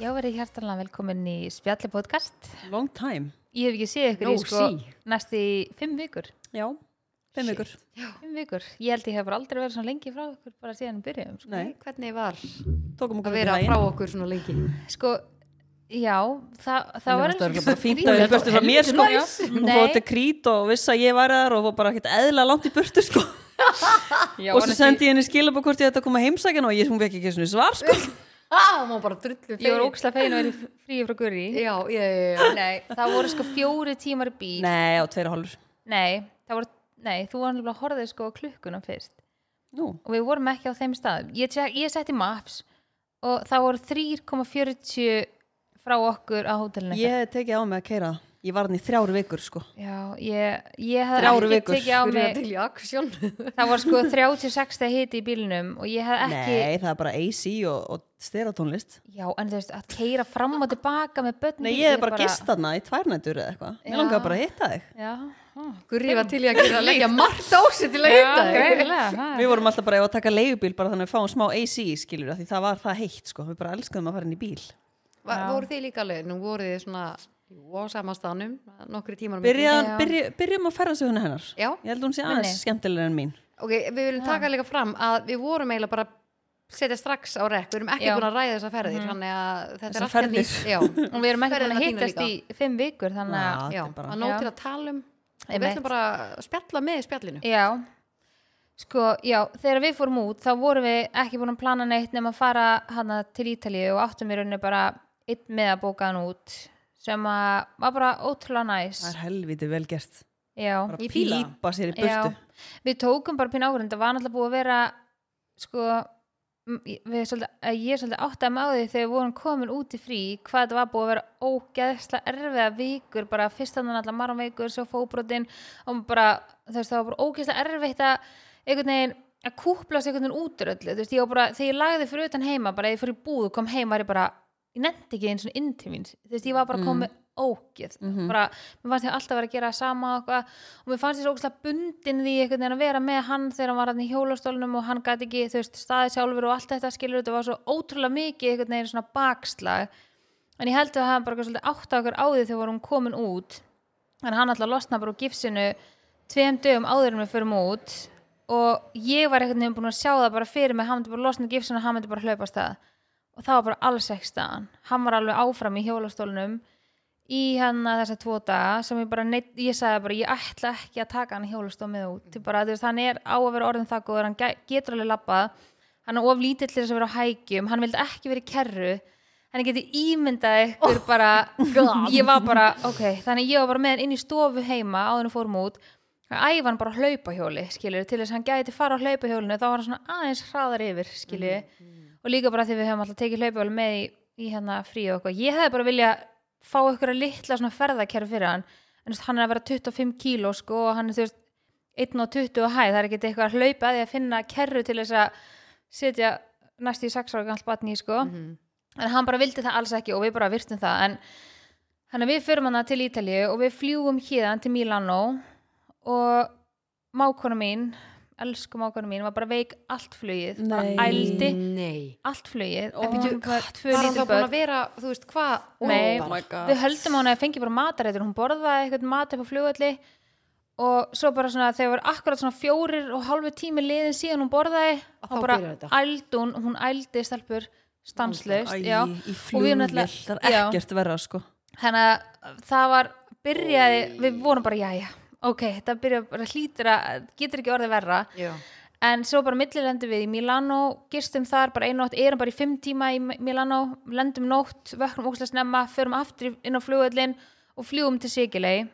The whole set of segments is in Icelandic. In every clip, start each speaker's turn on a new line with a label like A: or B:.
A: Já, verið hjartalega velkomin í Spjalli podcast.
B: Long time.
A: Ég hef ekki séð ykkur
B: No
A: í sko
B: see.
A: næst í fimm vikur.
B: Já, fimm
A: Shit.
B: vikur.
A: Fimm vikur. Ég held ég hef bara aldrei verið svona lengi frá ykkur bara síðan við byrjuðum. Sko.
B: Nei,
C: Hvernig var
B: tókum okkur
C: að vera
B: daginn.
C: frá okkur svona lengi?
A: sko, já, það,
B: Henni
A: það var
B: fannst
A: eins
B: Það var
A: og
B: bara fínt að
A: skrýtið.
B: vera burtu frá mér sko.
A: Já.
B: Hún
A: Nei.
B: fór til krít og vissi að ég var þar og fór bara ekkert eðla langt í burtu sko.
A: Já,
B: og svo
A: honestly,
B: sendi ég henni skilabokort ég ætti að koma heimsækjan og ég, hún fekk ekki svona svar sko.
C: Á, maður bara drullu
A: Ég var ókslega fegin að vera frí frá Guri.
C: Já, já, já, já.
A: Nei, það voru sko fjóri tímar í bíl.
B: Nei, á tveira hálfur.
A: Nei, það voru, nei, þú var náttúrulega að horfa sko á klukkuna fyrst.
B: Nú,
A: og við vorum ekki á þeim staðum ég, tjek, ég setti maps og það voru 3,40 frá okkur á hótelinu
B: ég hef tekið á mig að keira það. Ég var hann í þrjár vikur sko.
A: já, ég, ég hef
B: Þrjár
A: ekki
B: vikur.
A: tekið á
C: Við erum
A: mig
C: til í aksjón.
A: það var sko 36 þegar hiti í bílnum og ég hef ekki
B: Nei, það er bara AC og, og steratónlist.
A: já, en þú veist, að keira fram og tilbaka með börn
B: Nei, ég hef bara gist hann í tværnættur eða eitthvað. Mér
A: Já.
B: langaði bara að hitta þig.
A: já, ah,
C: Gurri var til í að gera að leggja margt á sig til að
A: já,
C: heita þig.
A: greinilega, ha.
B: Við vorum alltaf bara ef að taka leigubíl bara þannig að við fáum smá AC skilur því það var það heitt sko, við bara elskuðum að fara inn í bíl
C: Va- Voru þið líka alveg? Nú voru þið svona jú, á sama staðnum, nokkri tímar á milli.
B: Byrjað,
A: Já.
B: byrj, Byrjum að ferðast við henni hennar
C: Já.
B: Ég held hún sé
A: Nei,
B: aðeins
A: nei.
B: skemmtilega en mín
C: Ok, við viljum taka líka fram að við vorum eiginlega bara að setja strax á rekk. Við erum ekki
A: Já. Mhm.
C: búin að ræða þessar ferðir, þannig að þetta
B: Þessar
C: er alltaf nýtt.
B: ferðir.
C: Já,
A: og við erum ekki búin að
C: Ferðina þína
A: hittast í fimm vikur þannig að
B: Já,
C: já,
B: þetta er bara-
C: að nóg
A: Já.
C: til að tala um. Og við
A: Einmitt.
C: ætlum bara að spjalla með í spjallinu.
A: Já, sko, já, þegar við fórum út þá vorum við ekki búin að plana neitt nema að fara hana til Ítalíu og áttum í rauninni bara einn með að bóka hann út sem að var bara ótrúlega næs
B: Það er helviti vel gert
A: Já,
B: Bara
C: Ég fíla það.
B: pípa sér í
A: já
B: burtu
A: Við tókum bara pín áhverjum, það var náttúrulega búið að vera sko m- við svolítið, að ég svolítið áttaði með á því þegar við vorum komin út í frí hvað þetta var búið að vera ógeðslega erfiða vikur, bara fyrst þannig allar margum vikur, svo fóbrotin og bara, þú veist, það var bara ógeðslega erfitt að einhvern veginn að kúplast einhvern veginn út úr öllu, þú veist, ég var bara þegar ég lagði fyrir utan heima, bara ef ég fór í búð og kom heim var ég bara, ég nefndi ekki eins og inn til mín, þú veist, ég var bara mm. komið ógeð, bara, mér fannst ég alltaf vera að gera sama og eitthvað, og mér fannst ég svo ógeðslega bundin því einhvern veginn að vera með hann þegar hann var hann í hjólastólnum og hann gæti ekki, þú veist, staði sjálfur og allt þetta skilur, þetta var svo ótrúlega mikið einhvern veginn svona bakslag en ég held að hann bara eitthvað svolítið átt á okkur á því þegar vorum komin út en hann alltaf losna bara úr gifsinu tveim dögum áður en við förum út og ég var einhvern veginn búin að sjá það bara fyrir mig, hann myndi bara losna úr gifsinu og hann myndi bara hlaupa af stað og það var bara alls ekki staðan hann var alveg áfram í hjólastólnum í hann að þessa tvo daga sem ég bara, neitt, ég sagði bara, ég ætla ekki að taka hann í hjólastólmið út, Ég bara, þú veist, hann er á að vera orðin það góður, hann gæ- getur alveg labbað hann er of lítill til þess að vera á hækjum hann vildi ekki vera í kerru hann geti ímyndað ykkur bara ég var bara, ok, þannig ég var bara með hann inn í stofu heima áður en við fórum út að æfa hann bara á hlaupahjóli skilur, til þess að hann gæti fara á hlaupahjólinu þá var hann svona aðeins hraðar yfir skilur, og líka bara því við höfum alltaf tekið hlaupahjóli með í, í hérna frí og eitthvað ég hefði bara vilja fá ykkur að litla svona ferðakerfi fyrir hann en þú veist, hann er að vera 25 kíló sko og hann er þú veist 1.20 og hæ, það er ekki eitthvað að hlaupa að því að finna kerru til þess að setja næst í 6 ára galt batni sko en hann bara vildi það alls ekki og við bara virtum það en þannig að við förum hana til Ítalíu og við fljúum hérðan til Milano og mákona mín elsku mákona mín var bara veik allt flugið,
B: Nei.
A: bara ældi
C: Nei.
A: allt flugið
B: En
A: og
B: býtu,
A: hún var tvö
C: Var hann þá
A: lítil
C: búin
A: börn Oh
C: að Oh vera, þú veist, hvað?
A: Nei,
C: Ó, bara-
B: god
A: við höldum að hún að fengi bara matarætur hún borðaði eitthvað mat upp á flugvelli og svo bara svona þegar var akkurat svona fjórir og hálfu tími liðin síðan hún borðaði
C: Að
A: og
C: þá
A: bara
C: byrjar þetta.
A: ældi hún, hún ældi stelpur stanslaust
B: Æ,
A: já.
B: Í
A: Og við
B: flugvill,
A: náttúrulega-
B: það er
A: já.
B: ekkert verra sko
A: þannig að það var byrjaði, við vorum bara jæja ok, þetta byrjaði bara hlýtur að getur ekki orðið verra
C: Já.
A: en svo bara millilendi við í Milano gistum þar bara einu nótt, erum bara í fimm tíma í Mi- Milano, lendum nótt vöknum ókslega snemma, förum aftur inn á flugvöllin og fljúum til Sigilei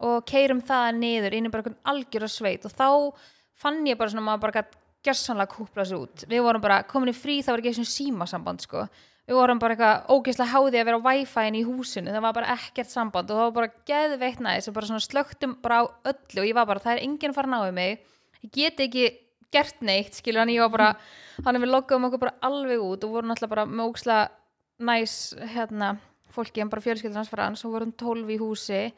A: og keirum það niður inn í bara einhvern algjör og sveit og þá fann ég bara svona að maður bara gætt gjössanlega kúpla sig út, við vorum bara komin í frí það var ekki eins og símasamband sko við vorum bara eitthvað ógeðslega háði að vera á Wi-Fi-in í húsinu, það var bara ekkert samband og það var bara geðveitt næs og bara svona slögtum bara á öllu og ég var bara, það er enginn fara að ná í mig ég get ekki gert neitt skilur hann ég var bara hann við loggaðum okkur bara alveg út og vorum alltaf bara með óksla næs hérna, fólki en bara fjölskyldur hans frans og vorum tólf í húsi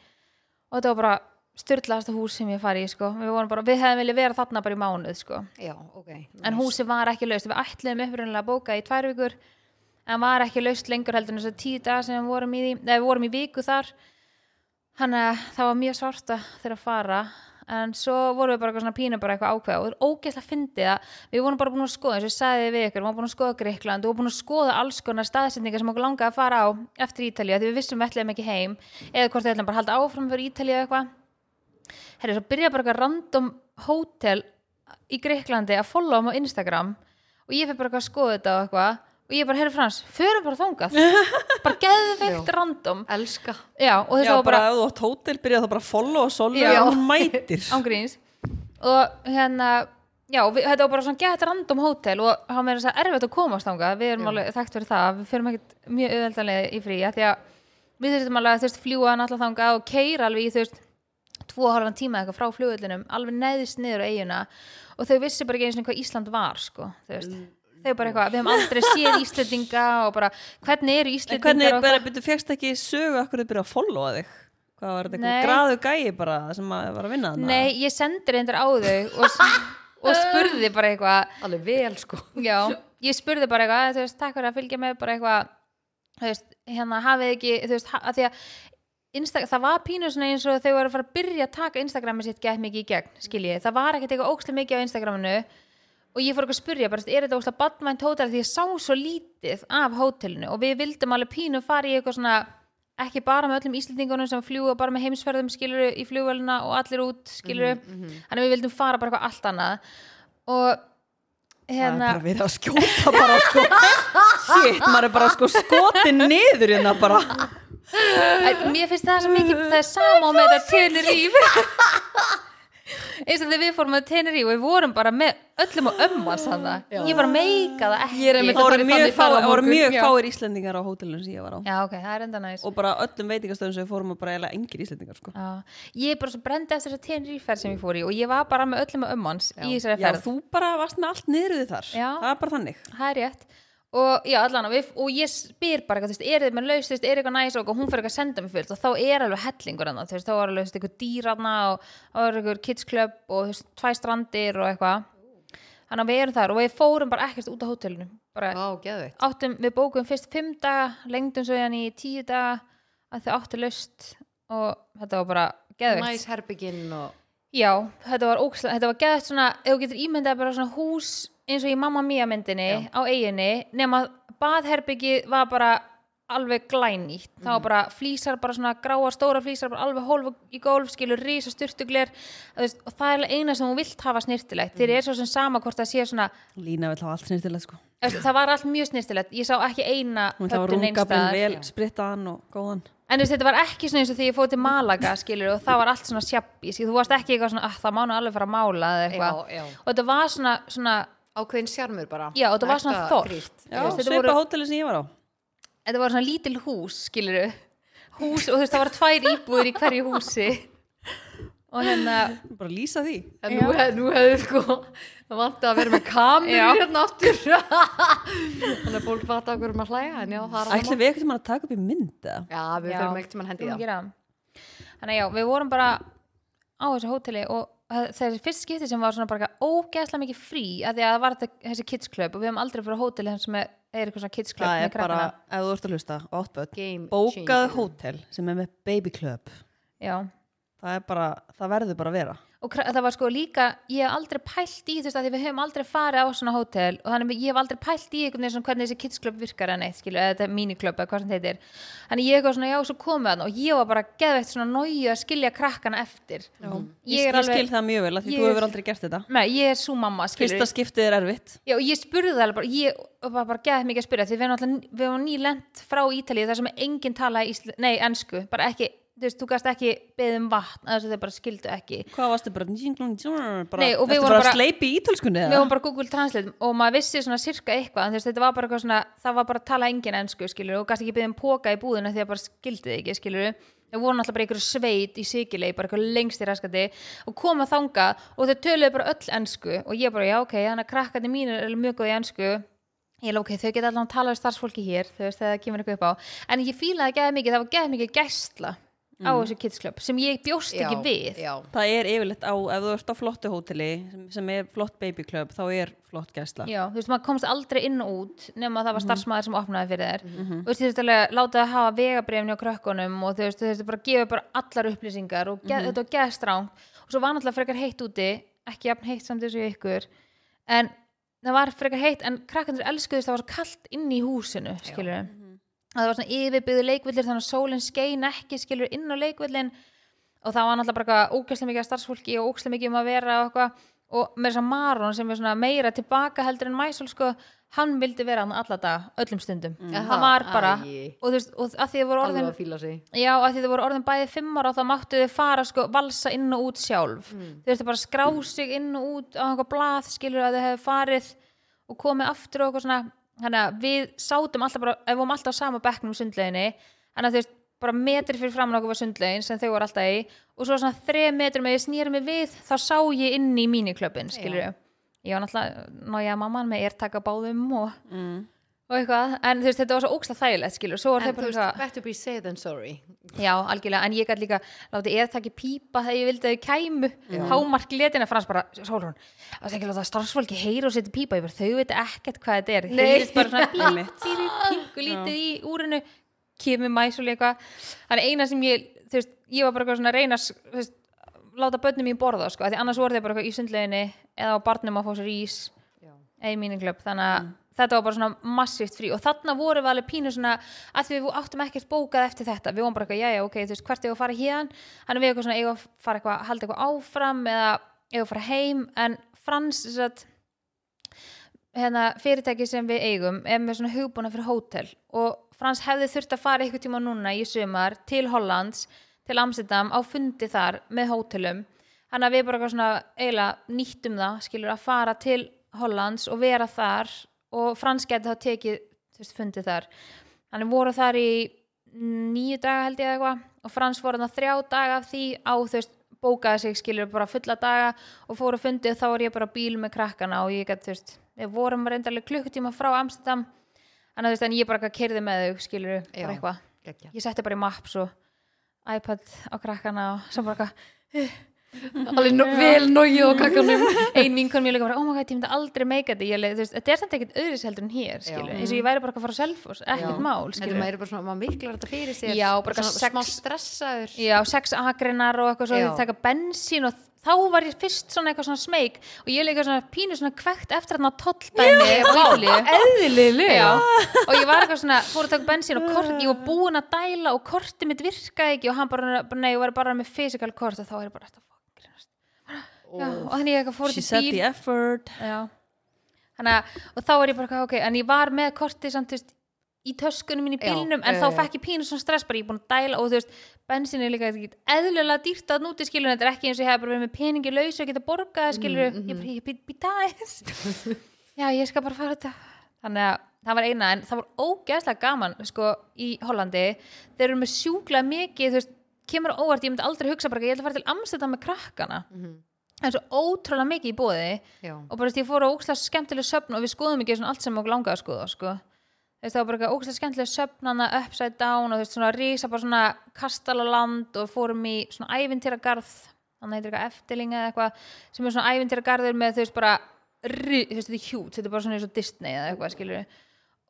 A: og þetta var bara styrlaðasta hús sem ég fari í sko. við, vorum bara, við hefðum viljað vera þarna bara í mánuð sko.
C: Já, ok.
A: en húsi var ekki laust við ætluðum upprunalega að bóka í tvær vikur en hann var ekki laust lengur heldur en þess að tíu daga sem við vorum í, því, eða, við vorum í viku þar hann að það var mjög svarta þegar að fara en svo vorum við bara eitthvað svona pínu bara eitthvað ákveða og það er ógeðslega fyndið að við vorum bara búin að skoða eins og ég sagði við ykkur, við vorum búin að skoða Greikland og vorum búin að skoða alls konar staðsendingar sem okkur langaði að fara á eftir Ítalíu af því við vissum við ætlaðum ekki heim eða hvort við ætlaðum bara að halda áfram fyrir Ítalíu eða eitthvað herri, svo byrja bara eitthvað random hótel í Greiklandi að followa mig á Instagram og ég fyrir bara eitthvað að skoða þetta og eitthvað og ég bara, herri Frans, förum bara þangað bara geðveikt random
C: elska
A: já, og
B: Já,
A: þetta var
B: bara
A: bara
B: ef þú átt hótel byrjað þá bara að followa Solveig
A: Já.
B: og hún mætir
A: ángríns og hérna, já, við, þetta var bara svona gett random hótel og hann verður þess að erfitt að komast þangað, við erum
C: Já.
A: alveg þekkt fyrir það við förum ekkert mjög auðveldanlega í frí af því að við þurfum alveg að þú veist fljúa náttúrulega þangað og keira alveg í þú veist tvo og halvan tíma eða eitthvað frá flugullinum alveg neðist niður á eiguna og þau vissi bara ekki eins og hvað Ísland var sko, þú veist þau bara eitthvað, við hefum aldrei séð Íslendinga og bara, hvernig eru
B: En
A: Íslendingar
B: hvernig,
A: og
B: bara, byrju, fegst ekki sögu akkur þið byrjað að followa þig? Hvað var þetta
A: Nei.
B: eitthvað graðu gæi bara sem að var að vinna þarna?
A: Nei, ég sendi reyndar á þau og, og spurði bara eitthvað
C: alveg vel sko
A: Já, ég spurði bara eitthvað, þú veist, takk fyrir að fylgja mig, bara eitthvað, þú veist, hérna hafið ekki, þú veist, ha- að því að Insta, það var pínu svona eins og þau voru að fara að byrja að taka Instagramið sitt gett mikið í gegn, skiljið, það var ekkert eitthvað ókslega mikið á Instagraminu og ég fór eitthvað að spurja, bara, þú veist, er þetta ókslega badmænt hótel því ég sá svo lítið af hótelinu og við vildum alveg pínu fara í eitthvað svona ekki bara með öllum Íslendingunum sem fljúa bara með heimsferðum skiluru í flugvæluna og allir út skiluru, þannig að við vildum fara bara eitthvað allt annað og
B: Það er
A: hérna
B: bara verið að skjóta bara sko Shit, maður er bara sko skotin niður hérna bara
A: En Mér finnst það svo mikið, það er sama og með þetta Teneríf eins og þegar við fórum að Teneríf og við vorum bara með öllum og ömmans hann ég bara meika það ekki
C: Ég er einmitt-
B: Það voru
C: farið
B: mjög,
C: þannig
B: fá,
C: ferðamorgun,
B: voru mjög
C: já.
B: fáir Íslendingar á hótelunum sem ég var á
A: Já, ok, það er enda næs
B: og bara öllum veitingastöðum sem við fórum og bara eiginlega engir Íslendingar sko
A: Já. Ég er bara svo brendi eftir þess að Teneríferð sem ég fór í og ég var bara með öllum og ömmans í þessari
B: Já,
A: ferð
B: þú bara varst með allt niður við þar
A: Já.
B: Það er bara þannig
A: það er rétt og, já, allan, og, við, og ég spyr bara eitthvað, þú veist, er þið með laus, þú veist, er eitthvað næs og eitthvað, hún fyrir eitthvað að senda mig fullt og þá er alveg hellingur hann, þú veist, þá er alveg þú veist, eitthvað dýrana og þá er eitthvað kidsklöpp og þú veist, tvæ strandir og eitthvað þannig að við erum þar og við fórum bara ekkert út á hótelinu bara
C: á geðveitt
A: áttum, við bókum fyrst fimm daga, lengdum svo hérna í tíu daga að þau áttu laust og þetta var bara geðveikt
C: næs herbygginn og
A: Já, þetta var ókslega, þetta var geðast svona, ef þú getur ímyndað bara svona hús eins og í Mamma Mia myndinni á eiginni, nema baðherbyggi var bara alveg glænýtt, það
B: Mhm.
A: var bara flýsar, bara svona gráa, stóra flýsar, bara alveg hólf í gólf, skilur risa styrtugler veist, og það er eiginlega eina sem hún vilt hafa snirtilegt, þeir
B: Mhm.
A: eru svo sem sama hvort það sé svona,
B: Lína vill hafa allt snýrtilega sko
A: eftir, það var allt mjög snirtilegt, ég sá ekki eina
B: Hún ætla að
A: pöddun neins
B: runga um blinn
A: staðar.
B: vel, sprittaðan og góðan
A: En þú veist, þetta var ekki svona eins og því ég fóð til Malaga skilur og það var allt svona sjabbi skilur, þú varst ekki eitthvað svona, að það má nú alveg fara að mála eða eitthvað,
C: Já, já.
A: og þetta var svona, svona
C: ákveðin sjarmur bara
A: já, og þetta var svona
C: Ekta grýtt.
A: þorft
B: Já,
A: Þú veist, þetta
B: svipa
A: voru,
B: hótelin sem ég var á
A: þetta voru svona lítil hús skilur hús, og þú veist, það var tvær íbúður í hverju húsi og hérna
B: Bara lýsa því
C: En nú, hef, nú hefðu sko það vant að vera með kameru
A: Já.
C: hérna aftur þannig að fólk fatta okkur um að hlæja en já, það er
B: Ætli
C: annað mál.
B: við ekkert mann að taka upp í mynd eða?
C: Já, við
A: Já.
C: þurfum ekkert sem hann hendi í
A: Þurfum að
C: það
A: gera það. Þannig að já, við vorum bara á þessu hóteli og það- þessi fyrst skipti sem var svona bara eitthvað ógeðslega mikið frí að því að það var þetta, þessi kids club og við hefum aldrei fyrir hóteli sem er, er eitthvað svona kids club
B: Það
A: með
B: er bara,
A: krakkana.
B: ef þú ert að hlusta og átt börn,
C: Game
B: bókað
C: changer.
B: hótel sem er með baby club
A: Já.
B: það er bara, það verður bara að vera
A: og kra- það var sko líka, ég hef aldrei pælt í þú veist að því við höfum aldrei farið á svona hótel og þannig að ég hef aldrei pælt í einhvern veginn svona hvernig þessi kidsklöp virkar eða neitt skilu, eða þetta míniklöp eða hvað sem þetta heitir þannig ég eitthvað svona, já, svo komið hann og ég var bara geðveikt svona nóju að skilja krakkana eftir já. ég
B: Mhm. Ég,
A: er
B: skil
A: alveg,
B: það mjög vel að því
A: Ég
B: þú
A: er-
B: hefur aldrei gert þetta
A: með, ég er sú mamma skilur,
B: Fyrsta skiptið er erfitt
A: Já, og ég spurði það alveg bara, ég var bara geðið mikið að spyrja því við erum alltaf, við erum nýlend frá Ítalíu þar sem enginn talaði ísl, nei, ensku bara ekki, þú veist, þú gast ekki beðið um vatn, þess að þau bara skildu ekki
B: Hvað varstu bara, bara
A: Nei, og við vorum
B: ertu bara
A: bara-
B: að sleipi í ítölskunni
A: við
B: eða?
A: vorum bara Google Translate og maður vissi svona sirka eitthvað en þú veist, þetta var bara eitthvað svona, það var bara að tala engin ensku skilur og gæst ekki byggðum póka í búðina því að bara skildi þið ekki skilur við vorum alltaf bara í einhverju sveit í Sigilei bara eitthvað lengst í raskandi og koma þangað og þau töluðu bara öll ensku og ég bara já ok, þannig að krakkandi mínir er mjög góð í ensku ég lók, okay, þau geta allan að tala við starfsfólki hér þú veist, þegar það kemur eitthvað upp á en ég fílaði geða mikið, það var geða mikið gæsla á þessu Kids Club sem ég bjóst ekki við
C: Mm. já,
B: Það er yfirleitt á, ef þú ert á flottu hóteli sem- sem er flott babyklöp, þá er flott gæsla.
A: Já, þú veist, maður komst aldrei inn og út nema að það var starfsmæður sem opnaði fyrir þær og þú veist, þú veist, alveg, láta það hafa vegabrefni á krökkunum og þú veist, þú veist, bara gefa bara allar upplýsingar og geð, þetta var geðstráng og svo var náttúrulega frekar heitt úti ekki jafn heitt samt þessu ykkur en það var frekar heitt en krakkandur elskuðist, það var svo kalt inn í húsinu skilur við, að það var svona yfirbyggðu leikvillir þannig að sólin skein ekki skilur inn á leikvillin og það var náttúrulega bara ógæslega mikið af starfsfólki og ógæslega mikið um að vera og eitthvað og með þess að Maron sem er svona meira tilbaka heldur en Mæsól sko hann vildi vera hann alla dag, öllum stundum hann var bara,
C: Mm. Æi.
A: og þú veist, og að því þau voru
C: alveg
A: orðin
C: að fíla sig
A: já, að því þau voru orðin bæði fimm ára þá máttu þau fara sko valsa inn og út sjálf
C: Mm.
A: þau þurftu bara að skrá sig inn og út á einhver blað skilur að þau hefðu farið og komið aftur og eitthvað svona þannig að við sátum alltaf bara, ef við vorum alltaf á sama bekknum í sundleginni, þannig að þú veist bara metri fyrir framan okkur var sundlegin sem þau voru alltaf í og svo svona þrei metri með ég snýri mig við, þá sá ég inn í míniklöpin, skilur ég ég var náttúrulega, ná ég að mamman með er taka báðum og,
B: Mm.
A: og eitthvað en þú veist, þetta var svo ókslega þægilegt, skilur svo var
C: en
A: þau
C: þú
A: bara
C: veist,
A: eitthvað-
C: better be safe than sorry
A: Já, algjörlega, en ég gæti líka látið eða takki pípa þegar ég vildi að þau kæmu hámark letina frans bara Sólrún, það er ekki að láta starfsfólki heyra og setja pípa yfir, þau veit ekkert hvað þetta er
C: Nei.
A: heyrist bara svona píp,
B: Einmitt.
A: píp, pingu lítið í úrinu kemur mæsul eitthvað þannig eina sem ég, þú veist, ég var bara eitthvað svona að reyna að s- þú veist, láta börnum mín borða sko, af því annars voru þau bara eitthvað í sundleginni eða á barnum að fá sér ís eða í míninglöp, þannig að þetta var bara svona massíft frí og þarna vorum við alveg pínu svona að því við áttum ekkert bókað eftir þetta við vorum bara eitthvað, jæja, ok, þú veist, hvert eigum við að fara héðan hann er við eitthvað svona, eigum við að fara eitthvað halda eitthvað áfram eða eigum við að fara heim en Frans, þess að hérna, fyrirtæki sem við eigum er með svona hugbúna fyrir hótel og Frans hefði þurft að fara einhver tíma núna í sumar til Hollands til Amsterdam á fundi þar með hótelum hann að við bara eitthvað svona eiginlega nýttum það, skilur að fara til Hollands og vera þar og Frans geti þá tekið þú veist, fundið þar hann voru þar í nýju daga held ég eða eitthvað og Frans voru þarna þrjá daga af því á þú veist bókaði sig skilur bara fulla daga og fóru fundið og þá var ég bara á bíl með krakkana og ég gæti þú veist við vorum reyndarlega klukkutíma frá Amsterdam en, veist, en ég bara kerði með þau skilur
C: Já.
A: bara eitthvað
C: Geggjað.
A: ég setti bara í maps og iPad á krakkana og svo bara eitthvað
C: alveg no, vel nógið og kakkanum
A: ein vinkon mér líka bara, oh my god, ég myndi aldrei meika þetta ég, leið- þú veist, þetta er samt ekkert öðris heldur en hér skilur,
C: Já.
A: eins og ég væri bara að fara á selfos ekkert mál, skilur
C: en maður er bara svona, maður miklar þetta fyrir sér
A: Já, bara
C: svona
A: sex-
C: smá stressaður
A: Já, sex agrinar og eitthvað svo
C: Já.
A: þau taka bensín og þá var ég fyrst svona eitthvað svona smeik og ég leika svona pínu svona kvekt eftir hann á tolldæmi og ítalíu
C: eðlilega
A: Já, og ég var eitthvað svona, fór að taka bensín og kort, ég var búin að dæla og kortið mitt virkaði ekki og hann bara, bara, nei, ég var bara með physical kort og þá er ég bara, þetta fuck, grínast. Já, og þannig ég eitthvað fór
B: She
A: til
B: said
A: bíl
B: the effort.
A: Já. Þannig að, og þá er ég bara, eitthvað, ok, en ég var með kortið samt, þú veist, í töskunum mín í
C: Já,
A: bílnum, en
C: já,
A: þá
C: já.
A: fekk ég pínu svona stress, bara ég er búin að dæla og þú veist, bensin er líka ekki eðlulega dýrt að núti skilur, þetta er ekki eins og ég hef bara verið með peningi laus og geta borgað skilur, ég bara, ég být být aðeins. Já, ég skal bara fara þetta. Þannig að það var eina, en það var ógeðslega gaman, sko, í Hollandi. Þeir eru með sjúklega mikið, þú veist, kemur á óvart, ég myndi aldrei hugsa bara, ég ætla að fara til Amsterdam með krakkana. Það er svo ótrúlega mikið í bóði
C: Já.
A: og bara þú veist, ég fór á ókslega skemmtileg söfn og við skoðum ekki svona allt sem okkur langaði að skoða sko. Þú veist, það var bara eitthvað ókslega skemmtileg söfn hana upside down og þú veist svona rísa bara svona kastalaland og fórum í svona ævintýragarð hann heitir eitthvað eftirlinga eða eitthvað sem er svona ævintýragarður með þú veist bara rí- þú veist þetta er hjút, þetta er bara svona eins og Disney eða eitthvað skilur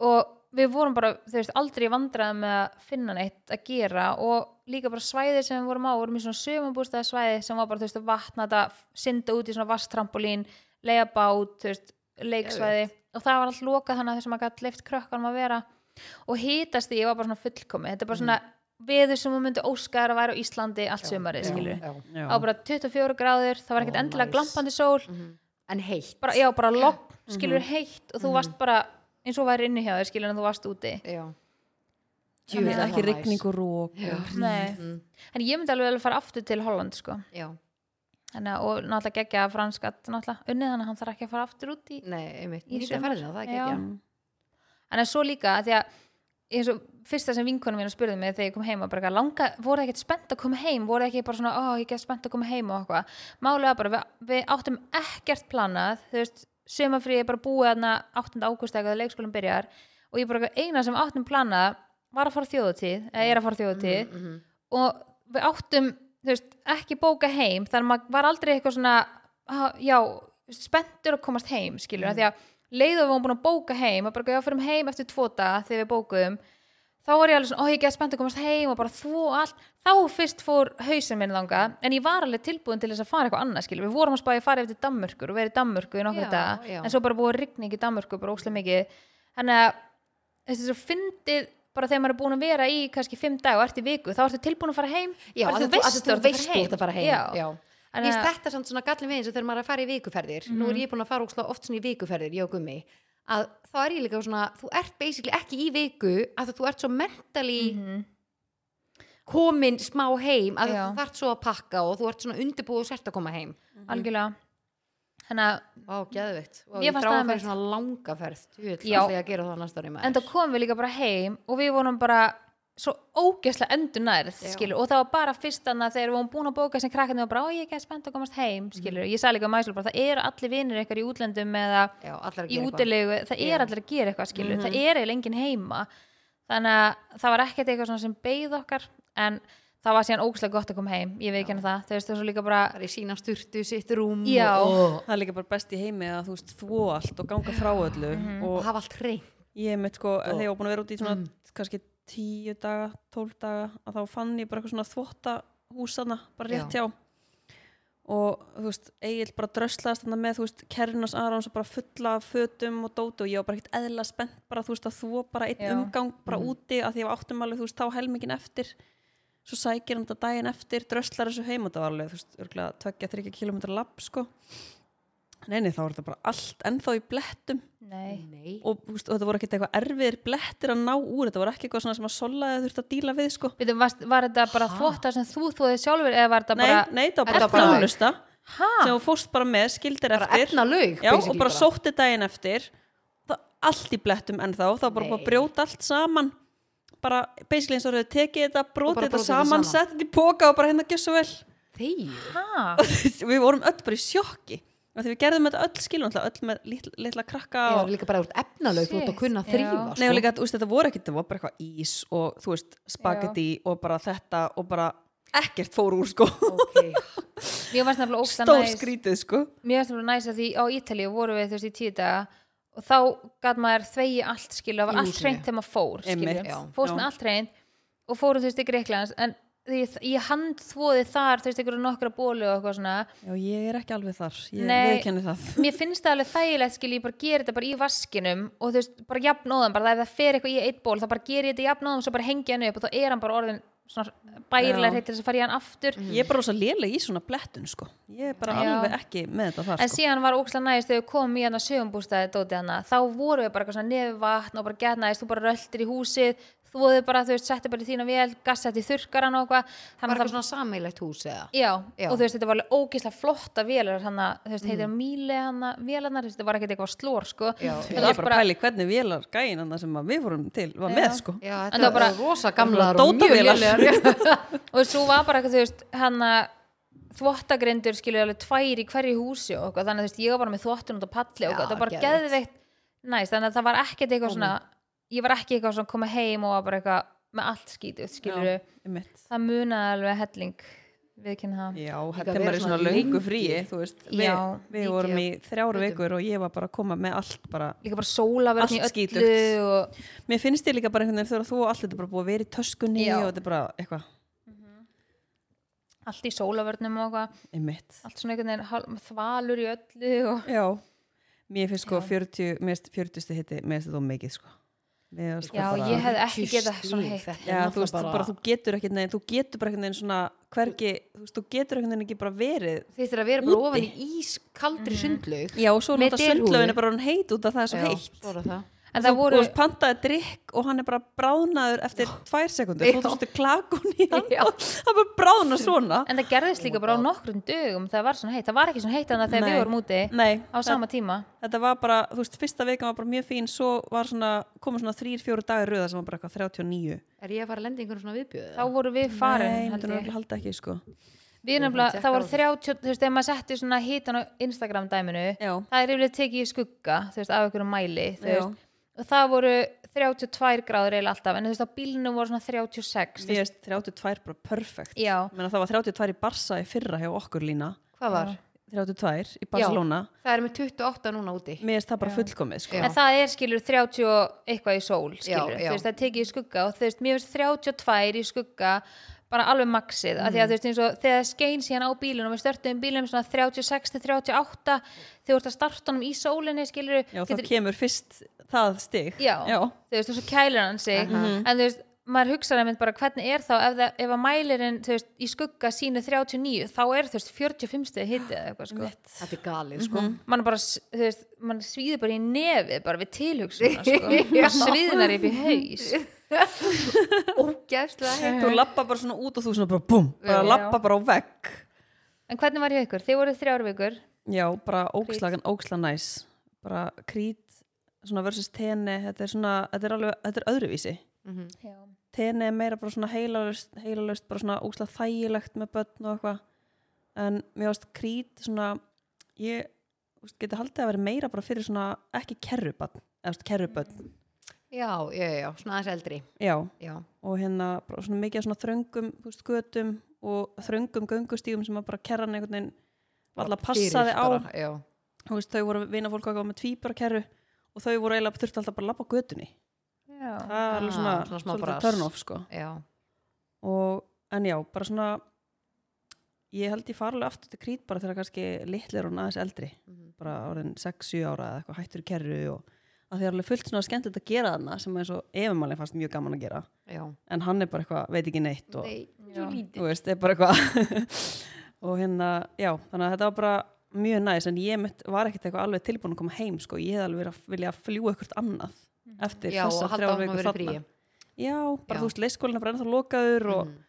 A: og við vorum bara, þú veist, aldrei vandraði með að finna neitt að gera og líka bara svæði sem við vorum á vorum í svona sömumbústaði svæði sem var bara, þú veist, vatna þetta synda út í svona vasttrampolín leiða bát, þú veist, leiksvæði og það var allt lokað þannig að þessum að gætt leift krökkunum að vera og hitast því ég var bara svona fullkomi, þetta er bara svona veður sem hún myndi óska þær að væri á Íslandi allt sömarið, skilur
C: Mm. Já, já.
B: Já.
A: á bara 24 gráður, það var ekkert
C: Ó,
A: endilega
C: nice. Mm.
A: glampandi sól
C: Mhm. en heitt
A: bara, já, bara logn, skilur
C: Mm-hmm.
A: heitt og þú varst bara, eins og væri inni hjá þér skilur en þú varst úti
C: já.
B: Jú,
C: Þannig að
B: ekki
C: það var
B: rigning
C: næs.
B: og rók.
C: Já.
A: Nei. en ég myndi alveg alveg fara aftur til Holland sko.
C: já,
A: Þannig, að- og náttúrulega geggja að Frans gat náttúrulega unnið hann, hann þarf ekki að fara aftur út í
C: nei, einmitt
A: Í
C: nýta
A: sumar.
C: ferðina, það er ekki
A: Já.
C: ekki
A: en að svo líka, af því að eins og fyrsta sem vinkonum mínu spurði mig þegar ég kom heim var bara eitthvað, langa, voru þið ekkert spennt að koma heim voru þið ekki bara svona, ó, ég get spennt að koma heim og eitthvað, málega bara, við, við áttum ekkert planað, þú veist sömafrí er bara búið aðna 8. ágúst eða leikskólum byrjar
C: Mm,
A: og ég bara eitthvað, eina sem við áttum planað var að fara á þjóðatíð eða er að fara á þjóðatíð og við áttum þú veist, ekki bóka heim þannig að maður var aldrei eitthvað svona "Ah, já, spenntur að komast heim skilur, mm. því að leiðum við vorum búin að bóka heim og bara, já, fyrir heim eftir tvo daga þegar við bókuðum þá var ég alveg svona, ó, ég get spennt að komast heim og bara þvó allt, þá fyrst fór hausinn minn þanga, en ég var alveg tilbúin til þess að fara eitthvað annað, skilur, við vorum að spáði að fara eftir Danmörkur og verið í Danmörku í nokkra
C: Já,
A: daga,
C: já.
A: en svo bara búið rigning í Danmörku bara óslega mikið, þannig að þessi svo fyndið bara þegar maður er búin að vera í kannski fimm dag og ert í viku, þá ertu tilbúin að fara heim
C: Já,
A: bara
C: að þú veist þú
A: að
C: veist þú ert að fara heim
A: Já.
C: Já.
A: Þannig
C: Ég veist
A: að- Mhm.
C: þetta samt svona gallin við eins og þegar maður er að fara í vikuferðir Nú er ég búin að fara ókslega oft svona í vikuferðir, ég og gummi að þá er ég líka svona, þú ert basically ekki í viku að þú ert svo mentally
A: Mhm.
C: komin smá heim að
A: Já.
C: þú þart svo að pakka og þú ert svona undirbúið og sért að koma heim
A: algjörlega þannig að,
C: Vá, geðveikt, Vá,
A: Mér
C: ég
A: fannst
C: þrá
A: það
C: að fyrir
A: einmitt.
C: svona langaferð Þú
A: Já.
C: ætla ég að gera það næsta ári
A: en
C: maður
A: þá komum við líka bara heim og við vorum bara svo ógeðslega endurnærð,
C: Já.
A: skilur, og það var bara fyrst þannig að þegar við vorum búin að bóka sem krakkarnir og bara, ó, ég er ekki spennt að komast heim, skilur ég sagði líka mæslu bara, það eru allir vinir ykkar í útlöndum eða
C: Já, allar að
A: í
C: gera eitthvað.
A: útilegu, það er
C: Já.
A: allir að gera eitthvað skilur, það er eiginlega enginn heima þannig að það var ekkert eitthvað svona sem beið okkar en það var síðan ógæslega gott að koma heim ég veit ekki hana það, þú veist það er svo líka bara
C: Það er í sína sturtu, sitt rúm
A: Já.
C: og,
B: það er líka bara best í heimi að þú veist þvó allt og ganga frá öllu
A: Mhm.
C: og
B: og
C: hafa allt hreint
B: ég mitt sko, þegar ég var búin að vera út í svona kannski tíu daga, tólf daga að þá fann ég bara eitthvað svona þvotta húsana, bara rétt hjá og þú veist, Egil bara dröslaðast þannig með, þú veist, kerrunas Arons og bara fulla af fötum og dóti og ég var bara ekkert eðla spennt bara, þú veist, að þvó bara einn
A: Já.
B: umgang bara úti, að því ég var áttum alveg, þú veist, þá helmingin eftir svo sækir hann þetta daginn eftir dröslar þessu heim og það var alveg, þú veist, örgulega 2-3 km lapp, sko Nei, nei, þá var þetta bara allt ennþá í blettum
A: nei,
C: Nei,
B: og, þú veist, og þetta voru ekkert eitthvað erfiðir blettir að ná úr, þetta voru ekki eitthvað svona sem að solaði þurfti að díla við sko.
A: Veitum, var, var þetta bara þvóttar sem þú þóðið sjálfur eða var þetta
B: Nei,
A: bara
B: nei, þetta var
C: Er
B: bara
C: það bara-
B: þjónusta sem þú fórst bara með, skildir
C: bara
B: eftir
C: efna laug
B: já, og bara sótti daginn eftir það, allt í blettum ennþá þá bara
C: Nei.
B: búið að brjóta allt saman bara basically eins og þau tekið þetta
C: bara
B: brotið þetta
C: brotið þetta
B: saman,
C: saman.
B: sett þetta í póka og bara hérna gjör svo vel
C: Þeir
A: ha,
B: við vorum öll bara í sjokki og því við gerðum þetta öll skilum öll með litla, litla krakka
C: Já,
B: og
C: líka bara úr efnalaug, þú ert að sko.
A: Shit,
C: kunna
A: já.
C: þrýfa
B: Nei og líka, þú veist, þetta voru ekkert, þetta voru bara eitthvað ís og þú veist, spagetti og bara þetta og bara ekkert fór úr sko
C: okay.
A: mér varst nefnilega ógæslega
B: stór
A: næs
B: skrítið sko
A: mér varst nefnilega næs að því á Ítalíu voru við þú veist í tíu daga og þá gæt maður þvegi allt skilur, það
C: Í
A: var allt
C: húsinu.
A: reynd þegar maður fór skilur,
B: Einmitt, já.
A: fórst
B: Já.
A: með allt reynd og fórum þú veist í Greiklands en því ég, ég handþvoði þar þú veist ykkur nokkra bólu og eitthvað svona
B: Já, ég er ekki alveg þar, ég
A: Nei.
B: viðkenni það
A: mér finnst það alveg þægilegt skil ég bara gera þetta bara í vaskinum og þú veist, bara jafnóðan, bara ef það fer eitthvað í eitt ból þá bara gera ég þetta jafnóðan og svo bara hengja hann upp og þá er hann bara orðin svona
B: Já. Mm.
A: bærilega hreitt til þess að fara í hann aftur
B: Ég er bara rosa léleg í svona blettun sko Ég er bara
A: Já.
B: alveg ekki með þetta þar
A: en
B: sko
A: síðan var ókslega næst þegar við komum í hann að sögumbústaði dótið hann þá voru við bara eitthvað svona nefið vatn og bara gett næst, þú bara röltir í húsið þvoðu bara, þú veist, settu bara í þína vel gassett í þurkaran og eitthvað
C: Var
A: þannig
C: eitthvað
A: að það
C: svona sameilegt hús eða?
A: Já,
C: Já.
A: og þú veist, þetta var alveg ógislega flotta vélar, hann að, þú veist, heitir mm. mýli hann að vélarnar, þú veist, þetta var ekkert eitthvað slór, sko.
C: Já.
A: Þetta
B: Ég
A: var
B: er bara að pæli hvernig vélar gæin annað sem að við fórum til var með sko
C: Já,
A: En það
C: þetta
A: var bara-
C: var rosa gamlar og mjög
B: Dótavélar.
C: lélegar
A: og svo var bara, þú veist, hann að þvottagrindur skilur alveg tvær í hverju húsi og eitthvað, þannig að þú veist, ég var bara með þvottun út á palli og
C: Já,
A: eitthvað, það var bara geðveikt
C: geðveikt.
A: næst, þannig að það var ekkert eitthvað svona ég var ekki eitthvað svona að koma heim og var bara eitthvað með allt skítið, skilur
B: einmitt.
A: það munaði alveg helling við kynna það
B: Já,
C: Líka
B: þetta er
C: vera
B: maður í svona
C: svona
B: löngu
C: lengi.
B: fríi þú veist, við,
A: Já,
B: við
C: mikið
B: vorum í
C: af
B: þrjár
C: hlutum.
B: vikur og ég var bara að koma með allt bara
A: líka bara sólavörn í
B: Allt
A: öllu
B: skítugt.
A: og,
B: Mér finnst ég líka bara einhvern veginn þegar þú og allt þetta er bara búið að vera í töskunni
A: Já.
B: og þetta er bara eitthvað
A: allt í sólavörnum og eitthvað,
B: einmitt.
A: allt svona einhvern veginn hál- þvalur í öllu og
B: Já, mér finnst sko 40, mér finnst 40 sti hitti, mér finnst þetta of mikið sko. Mér finnst sko
A: Já,
B: bara,
A: ég hef- hefði ekki
C: 40
A: getað svona
C: stig,
A: heitt.
C: þetta er
B: Já, þú veist,
C: náttúrulega
B: bara, þú getur ekkert neginn, þú getur bara ekkert neginn svona hvergi, þú veist, þú getur ekkert neginn ekki bara verið.
C: Þið þurfa að vera bara
B: Úti.
C: ofan í ískaldri sundlaug
B: Já, og svo
C: Með
B: náttúrulega
C: derhúfu.
B: sundlaugin er bara hann heit út af það er svo heitt.
C: svo er það
A: en það
B: Þú
A: voru
B: veist, pantaði drikk og hann er bara bráðnaður eftir tvær sekundur, þú
C: Já.
B: þurftu klakun í hann og hann bara bráðna svona.
A: En það gerðist líka bara á nokkrum dögum það var svona heitt, það var ekki svona heitt þannig að þegar
B: Nei.
A: við vorum úti
B: Nei,
A: á sama tíma
B: þetta var bara, þú veist, fyrsta veikan var bara mjög fín, svo var svona, komum svona þrýr, fjóru dagar röða sem var bara eitthvað 39.
C: Er ég að fara að lenda í einhverjum svona viðbjöðu?
A: þá voru við farin
B: Nei,
A: held
B: þetta er
A: ég.
B: náttúrulega halda ekki, sko.
A: við nefnilega, það voru 30 þú veist, ef maður setti svona hitan á Instagram dæminu
B: Já.
A: það er yfirlega tekið í skugga þú veist, af einhverjum mæli þú
B: Já.
A: veist, og það voru 32 gráður eiginlega alltaf en þú veist á bílnum voru svona 36
B: Mér veist 32 bara perfect
A: Já.
B: Menna, Það var 32 í Barsa í fyrra hjá okkur lína
C: hvað var?
B: 32 í Barcelona
C: Það er með 28 núna úti
B: Mér veist það bara fullkomið sko.
A: en það er skilur 30 og eitthvað í sól skilur,
C: Já, já.
A: þú veist það er tekið í skugga og þú veist mér finnst 32 í skugga bara alveg maxið, af því að þú veist eins og þegar það skein síðan á bílunum, við störtum bílunum svona 36 til 38 þegar þú ert að starta honum í sólinni skilur
B: Já, þá kemur fyrst það stig
A: já,
B: Já.
A: þú veist, og svo kælir hann sig en þú veist, maður hugsaði mynd bara hvernig er þá ef, það, ef að mælirinn, þú veist, í skugga sínu 39, þá er þú veist 45 stið hitti eða eitthvað, sko
C: Þetta er galið sko
A: mann bara, s- þú veist, mann svíður bara í nefið bara við tilhugsunna, sko svíðunar upp í haus
C: Ógæðslega heitt
B: Þú lappa bara svona út og þú svona bara búm bara
A: Já.
B: lappa bara á vegg
A: en hvernig var ég ykkur? Þið voruð þrjár vikur
B: Já, bara ógslagan, ógsla næs bara krít svona versus tene, þetta er svona þetta er, alveg, þetta er öðruvísi
A: já,
B: tene er meira bara svona heilalust, heilalust bara svona ógslag þægilegt með börn og eitthvað en mér varst krít svona ég þú veist, geti haldið að vera meira bara fyrir svona ekki kerrubönn eða þú veist, kerrubönn,
C: Já, já, já, svona aðeins eldri
B: já
C: Já,
B: og hérna bara svona mikið af svona þröngum þú veist, götum og þröngum göngustígum sem að bara kerran einhvern veginn alltaf passaði
C: fyrir
B: á
C: bara, Já,
B: þú veist, þau voru vinafólk og eitthvað með tvíbarakerru og þau voru eiginlega þurfti alltaf bara að labba á götunni
A: já,
B: það er alveg
C: Ah,
B: svona,
C: svona smá
B: svolítið
C: bras.
B: turn off sko.
C: já
B: og, en já, bara svona ég held ég fara alveg aftur til krít bara þegar kannski litlir og aðeins eldri
C: Mhm.
B: bara orðin 6-7 ára eða eitthvað hættur í kerru og að því er alveg fullt svona skemmtilegt að gera þarna sem eins og efumalinn fannst mjög gaman að gera
C: Já,
B: en hann er bara eitthvað, veit ekki neitt og
C: Nei,
A: Já.
C: svo lítið
B: þú veist, er bara eitthvað og hérna, já, þannig að þetta var bara mjög næs, en ég mitt var ekkert eitthvað alveg tilbúin að koma heim, sko, ég hefði alveg verið að vilja að fljúa eitthvað annað eftir
C: Já, og
B: þessar
C: halda
B: þrjár
C: áfram að
B: vikur
C: vera í
B: þarna.
C: fríi.
B: já, bara
C: Já.
B: þú veist, leikskólinn er bara ennþá lokaður og,
C: Mhm.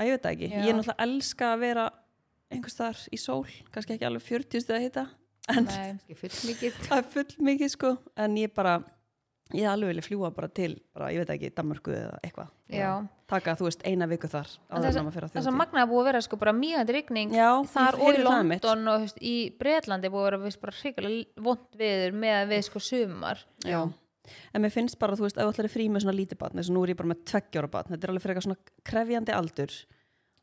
B: að ég veit það ekki,
A: Já.
B: ég er náttúrulega elska að vera einhvers þar í sól, kannski ekki alveg 40 stuð að hitta, en
A: nei
C: Ekki full mikið
B: það er full mikið, sko en ég bara, ég hefði alveg vilja fljúa bara til, bara, ég veit ekki, Danmörku eða eitthvað,
A: já,
B: taka, þú veist, eina viku þar
A: En
B: áður
A: þess-
B: en að maður fer á
A: þess að
B: þjóðhátíð.
A: magnaði búið að vera sko bara mjög rigning
B: Já,
A: þar
B: ég
A: og í
B: heyri það mitt.
A: London og þú veist, í Breitlandi búið að vera viðst bara hrikalega vond viður með að við sko sumar
B: Já. En mér finnst bara, þú veist, ef þú ætlar í frí með svona lítið batn, þess að nú er ég bara með tveggjóra batn, þetta er alveg fyrir eitthvað svona krefjandi aldur,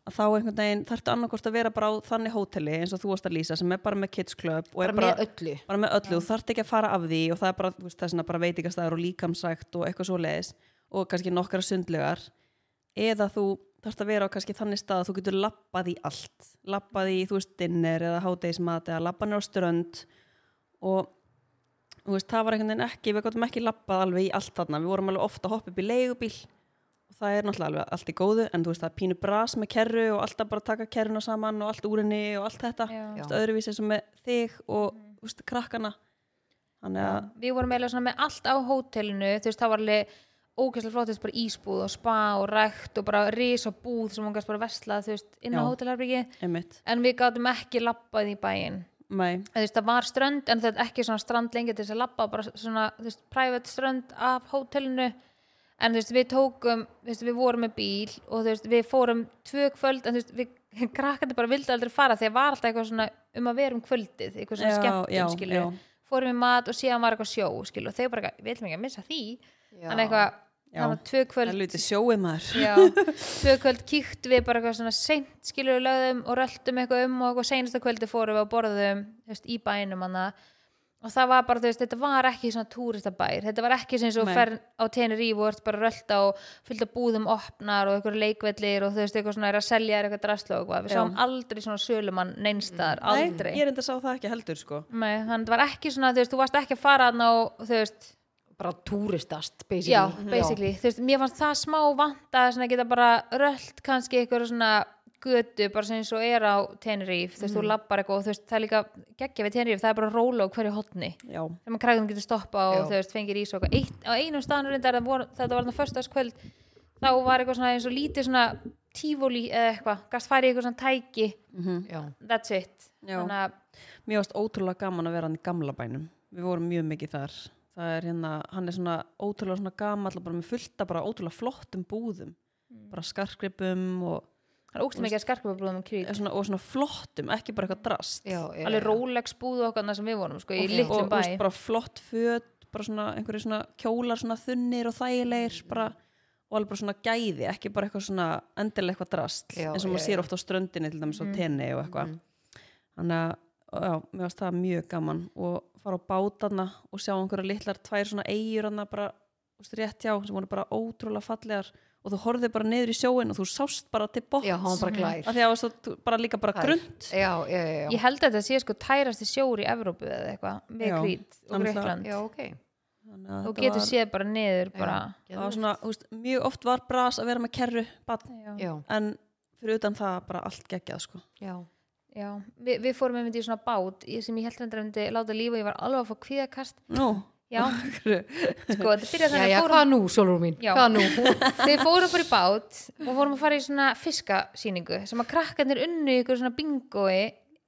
B: að þá einhvern veginn þarftu annarkort að vera bara á þannig hóteli eins og þú varst að lýsa, sem er bara með kids club og er
C: Bara
B: bara,
C: með öllu
B: bara með öllu, þú þarft ekki að fara af því og það er bara, þú veist, þess að bara veitingastæður og líkamsækt og eitthvað svo leiðis og kannski nokkara sundlegar, eða þú þarft að vera á kannski þannig stað að þú getur labbað í allt, labbað í, þú veist, dinner eða hádegismat eða labbað nýr á strönd og þú veist, það var einhvern veginn ekki, við gotum ekki lappað alveg í allt þarna, við vorum alveg ofta að hoppa upp í leigubíl og það er náttúrulega alveg allt í góðu en þú veist, það er pínu bras með kerru og alltaf bara taka kerruna saman og allt úr henni og allt þetta,
A: Já. Mhm.
B: þú veist, öðruvísi sem með þig og, þú veist, krakkana þannig að,
A: við vorum eiginlega svona með allt á hótelinu þú veist, það var alveg ógæslega flottist bara ísbúð og spa og rækt og bara ris og búð sem hún gæst bara versla þú veist, inn á
B: Já.
A: hótelherbyggi
B: einmitt
A: en við gátum ekki labbað í bæinn
B: mæ,
A: En þú veist, það var strönd en þetta er ekki svona strand lengi til þess að labba bara svona, þú veist, private strönd af hótelinu en þú veist, við tókum, þú veist, við vorum með bíl og þú veist, við fórum tvö kvöld en þú veist, við krakkandi bara vildi aldrei fara þegar var alltaf eitthvað svona um að vera um kvöldið eitthvað svona
B: Já, já,
A: skemmtum, skilju
B: já.
A: fórum í mat og síðan var eitthvað sjó, skilju og þau bara, eitthvað, við ætlum ekki að missa því
C: Já.
A: en eitthvað,
B: Já.
A: þannig að tvö
B: það er
A: kvöld
B: lítið sjóið maður
A: Já, tvö kvöld kíkt við bara eitthvað svona seint skilur við lögðum og röltum eitthvað um og eitthvað seinasta kvöldi fórum við og borðum þú veist, í bænum hana og það var bara, þú veist, þetta var ekki svona túristabær þetta var ekki sem svo
B: Nei.
A: fer á Teneríf og ert bara að rölta og fyllt að búðum opnar og eitthvað leikvellir og þú veist, eitthvað svona er að selja er eitthvað drasla og eitthvað, við
B: Já.
A: sáum aldrei svona sölumann neinstaðar, aldrei
B: Nei, ég er enda sá það ekki heldur, sko
A: Nei, þannig það var ekki svona, þú veist, þú varst ekki að fara þarna og þú veist,
C: Bara túristast, Mhm. basically
A: já,
B: Mhm.
A: basically, þú veist, mér fannst það smá vant að svona geta bara rölt kannski eitthvað svona götu bara sem eins og er á Tenerife þú veist, þú
B: Mhm.
A: lappar eitthvað og þú veist, það er líka geggja við Tenerife, það er bara róla á hverju hotni
B: Já,
A: sem að krakkan getur stoppa og
C: Já.
A: þú veist, fengir ís og eitthvað Eitt, á einum staðan reyndar, það voru- þetta var þannig föstudagskvöld þá var eitthvað svona eins og lítið svona tífóli eða eitthvað, gast farið í eitthvað svona tæki
C: já.
A: that's it
B: Já.
A: þannig að,
B: Mér varst ótrúlega gaman að vera hann í gamla bænum. Við vorum mjög mikið þar. Það er hérna, hann er svona ótrúlega svona gamall og bara með fullta bara ótrúlega flottum búðum. Bara skarkripum og,
A: hann ógst mikið að skarkababrúðum um
B: eða
A: krýt,
B: svona, og svona flottum, ekki bara eitthvað drast.
C: Já, já,
A: alveg
C: já.
A: Rolex búðu okkar þarna sem við vorum sko, í
B: og,
A: litlum
B: og,
A: bæ
B: veist, bara flott föt, bara svona einhverju svona kjólar svona þunnir og þægilegir
C: Mm.
B: bara, og alveg bara svona gæði ekki bara eitthvað svona endilega eitthvað drast
C: Já,
B: eins og maður
C: já, Mm.
B: sér
C: já.
B: oft á ströndinni til dæmis á tenni og eitthvað þannig að já, mér varst það mjög gaman og fara á bátana og sjá einhverja litlar tvær svona eigur hana bara þú veist, rétt hjá sem voru bara ótrúlega fallegar og þú horfði bara niður í sjóin og þú sást bara til bótt
C: já, hann var bara
B: af
C: glær
B: því að það var svo þú- bara líka bara
C: Þær.
B: grund
C: já, já, já, já.
A: Ég held að þetta sé sko tærasti sjór í Evrópu eða eitthvað, með
B: Já,
A: Krít og
B: náttúrulega.
A: Greikland
C: já, ok
A: og getur séð bara niður bara,
B: það var svona, þú veist, mjög oft var bras að vera með kerru badn,
A: já, já.
C: já,
B: en fyrir utan það bara allt geggjað sko
C: já,
A: Vi, við fórum einmitt í svona bát í- sem ég held að þetta myndi láta lífa, ég var alveg að fá kvíðakast
B: Nú,
A: já, sko, þetta byrjaði
C: já,
A: þannig
C: já,
A: að fórum
C: hvað nú, Solrún mín,
A: Já.
C: hvað nú
A: þeir fórum bara í bát og fórum að fara í svona fiskasýningu sem að krakkarnir unnu í ykkur svona bingoi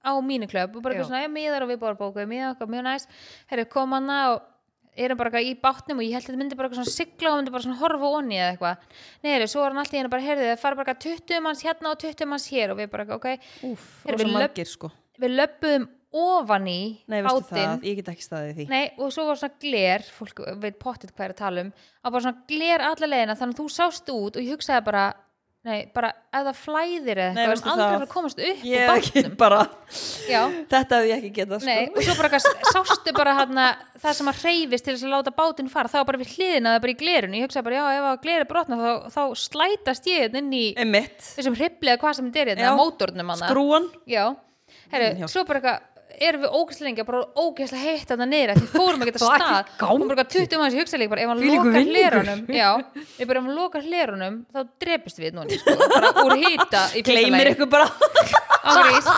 A: á mínu klöp og bara
C: Já.
A: eitthvað svona, já, miðar og við bóra bóku miðar okkar, mjög næst, herri, kom hana og erum bara eitthvað í bátnum og ég held að þetta myndi bara eitthvað svona sigla og myndi bara svona horfa onni eða eitthvað, nei, herri, svo var hann alltaf hérna bara herrið, það fara bara eitthvað 20 manns hérna og 20 manns hér og við bara, ok,
B: úf,
A: Heyrðu,
B: rosa
A: við löbb-
B: margir sko
A: við löpum ofan í
B: Nei, veistu
A: bátinn
B: það, ég get ekki staðið í því
A: Nei, og svo var svona gler, fólk veit pottit hvað er að tala um, að bara svona gler alla leiðina, þannig að þú sást út og ég hugsaði bara, nei, bara ef það flæðir eða
B: Nei,
A: eitthvað, við
B: veistu
A: erum aldrei
B: það?
A: að fara að komast upp
B: Ég
A: úr
B: er
A: bátnum.
B: ekki bara,
A: Já,
B: þetta hefði ég ekki getað sko
A: nei, og svo bara eitthvað sástu bara hana, það sem að hreyfist til þess að láta bátinn fara, það var bara við hliðina það bara í glerinu, ég hugsaði bara, já, ef að glerið brotna þá, þá slætast ég hérna inn í
B: Einmitt,
A: þessum hriflega hvað sem þetta er
B: Já. Sko,
A: hérna, mótornum hana.
B: skrúan
A: Já,
B: Mm,
A: herru,
B: já.
A: svo bara eitthvað erum við ógæslega lengi að bara ógæslega heitt þarna niður af því fórum ekki að
C: Það er ekki
A: stað
C: gangi.
A: og bara eitthvað 20 manns í hugsa líka bara ef hann
C: Þvílíkur
A: lokar
C: vinningur.
A: hlerunum já, ef bara ef hann lokar hlerunum þá drepist við núna sko, bara úr hýta í fyrsta
B: Gleimir
A: lagi.
B: ykkur bara
A: Ángrís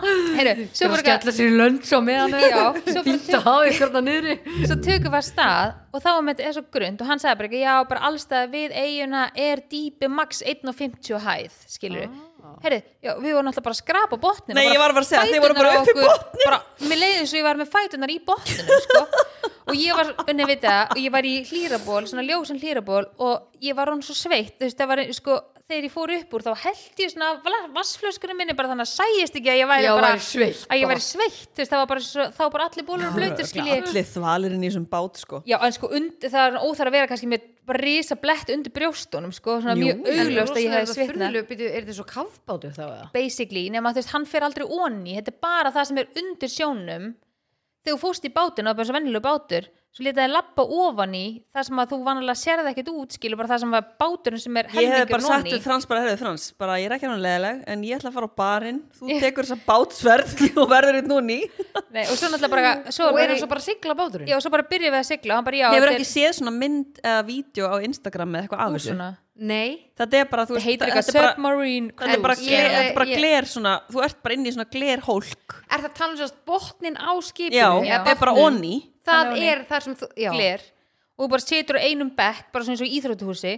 A: Herru, svo
C: Þegar
A: bara eitthvað
C: að skella sér í lönd svo meðan
A: Já, svo bara
C: fýta á ykkur þarna niðri
A: svo tökum við að stað og þá var með þetta svo grund og hann sagði bara ekki, já, bara allstað við eiguna er dýpi max 1.50 hæð, skilur við Herri, já, við vorum alltaf bara að skrapa botnin
B: Ah. Nei,
A: og
B: ég var bara að segja, þeir voru
A: fæturnar
B: bara
A: á
B: upp í
A: okkur,
B: botninn.
A: bara, Mér leiði eins og ég var með fætunar í botninum sko. og ég var, unni við það og ég var í hlýraból, svona ljósan hlýraból og ég var hún svo sveitt þú veist, það var, sko, þegar ég fór upp úr þá held ég svona vassflöskunum minni bara þannig að sæjist ekki að ég væri
C: Já,
A: bara
C: væri sveitt
A: að ég
C: bara.
A: væri sveitt, þú veist, það var bara svo, þá var bara allir bólur og blötur skiljið
B: Allir þvalirinn í þessum bát sko
A: Já, en sko, und, það er óþar að vera kannski með bara risa blett undir brjóstunum, sko, svona
B: Jú.
A: mjög
B: En
A: augljóst að ég hefði svitna.
C: Er þetta svo kafbátur þá eða?
A: Basically, nema þú veist, hann fer aldrei onni, þetta er bara það sem er undir sjónum. Þegar þú fóst í bátinn, það er bara svo vennilega bátur, svo letaði lappa ofan í það sem að þú vanalega sérði ekkert út, skilur bara það sem var báturinn sem er
B: Ég hefði bara
A: helmingur
B: sagt
A: onni.
B: við Frans bara, herðu Frans, bara ég er ekki hann leðileg en ég ætla að fara á barinn, þú tekur þessa bátsverð og verður eitt núni
A: Nei, og svo náttúrulega bara, svo
C: Og er
A: bara,
C: hann svo bara að sigla báturinn?
A: já, svo bara byrjum við að sigla, og hann bara, já,
B: Hefur
A: þetta
B: ekki séð svona mynd eða vídeo á Instagram eða eitthvað af
A: er
B: þessu?
A: svona,
C: Nei,
B: Þetta er bara, þú
A: þetta heitir
B: þetta
A: eitthvað
B: er bara-
A: submarine
B: Þetta er bara,
C: Cruise,
B: gler,
C: já.
B: þetta er bara
C: Ég-
B: gler svona, þú ert bara inn í svona glerhólk.
C: er það talað um sérst botnin á skipinu?
B: Já,
C: eða
B: þetta er bara
C: bátnum?
B: onni.
C: Það
A: Hann er
C: er þar sem þú, já
A: gler og þú bara situr á einum bekk bara svona eins og í íþrótuhúsi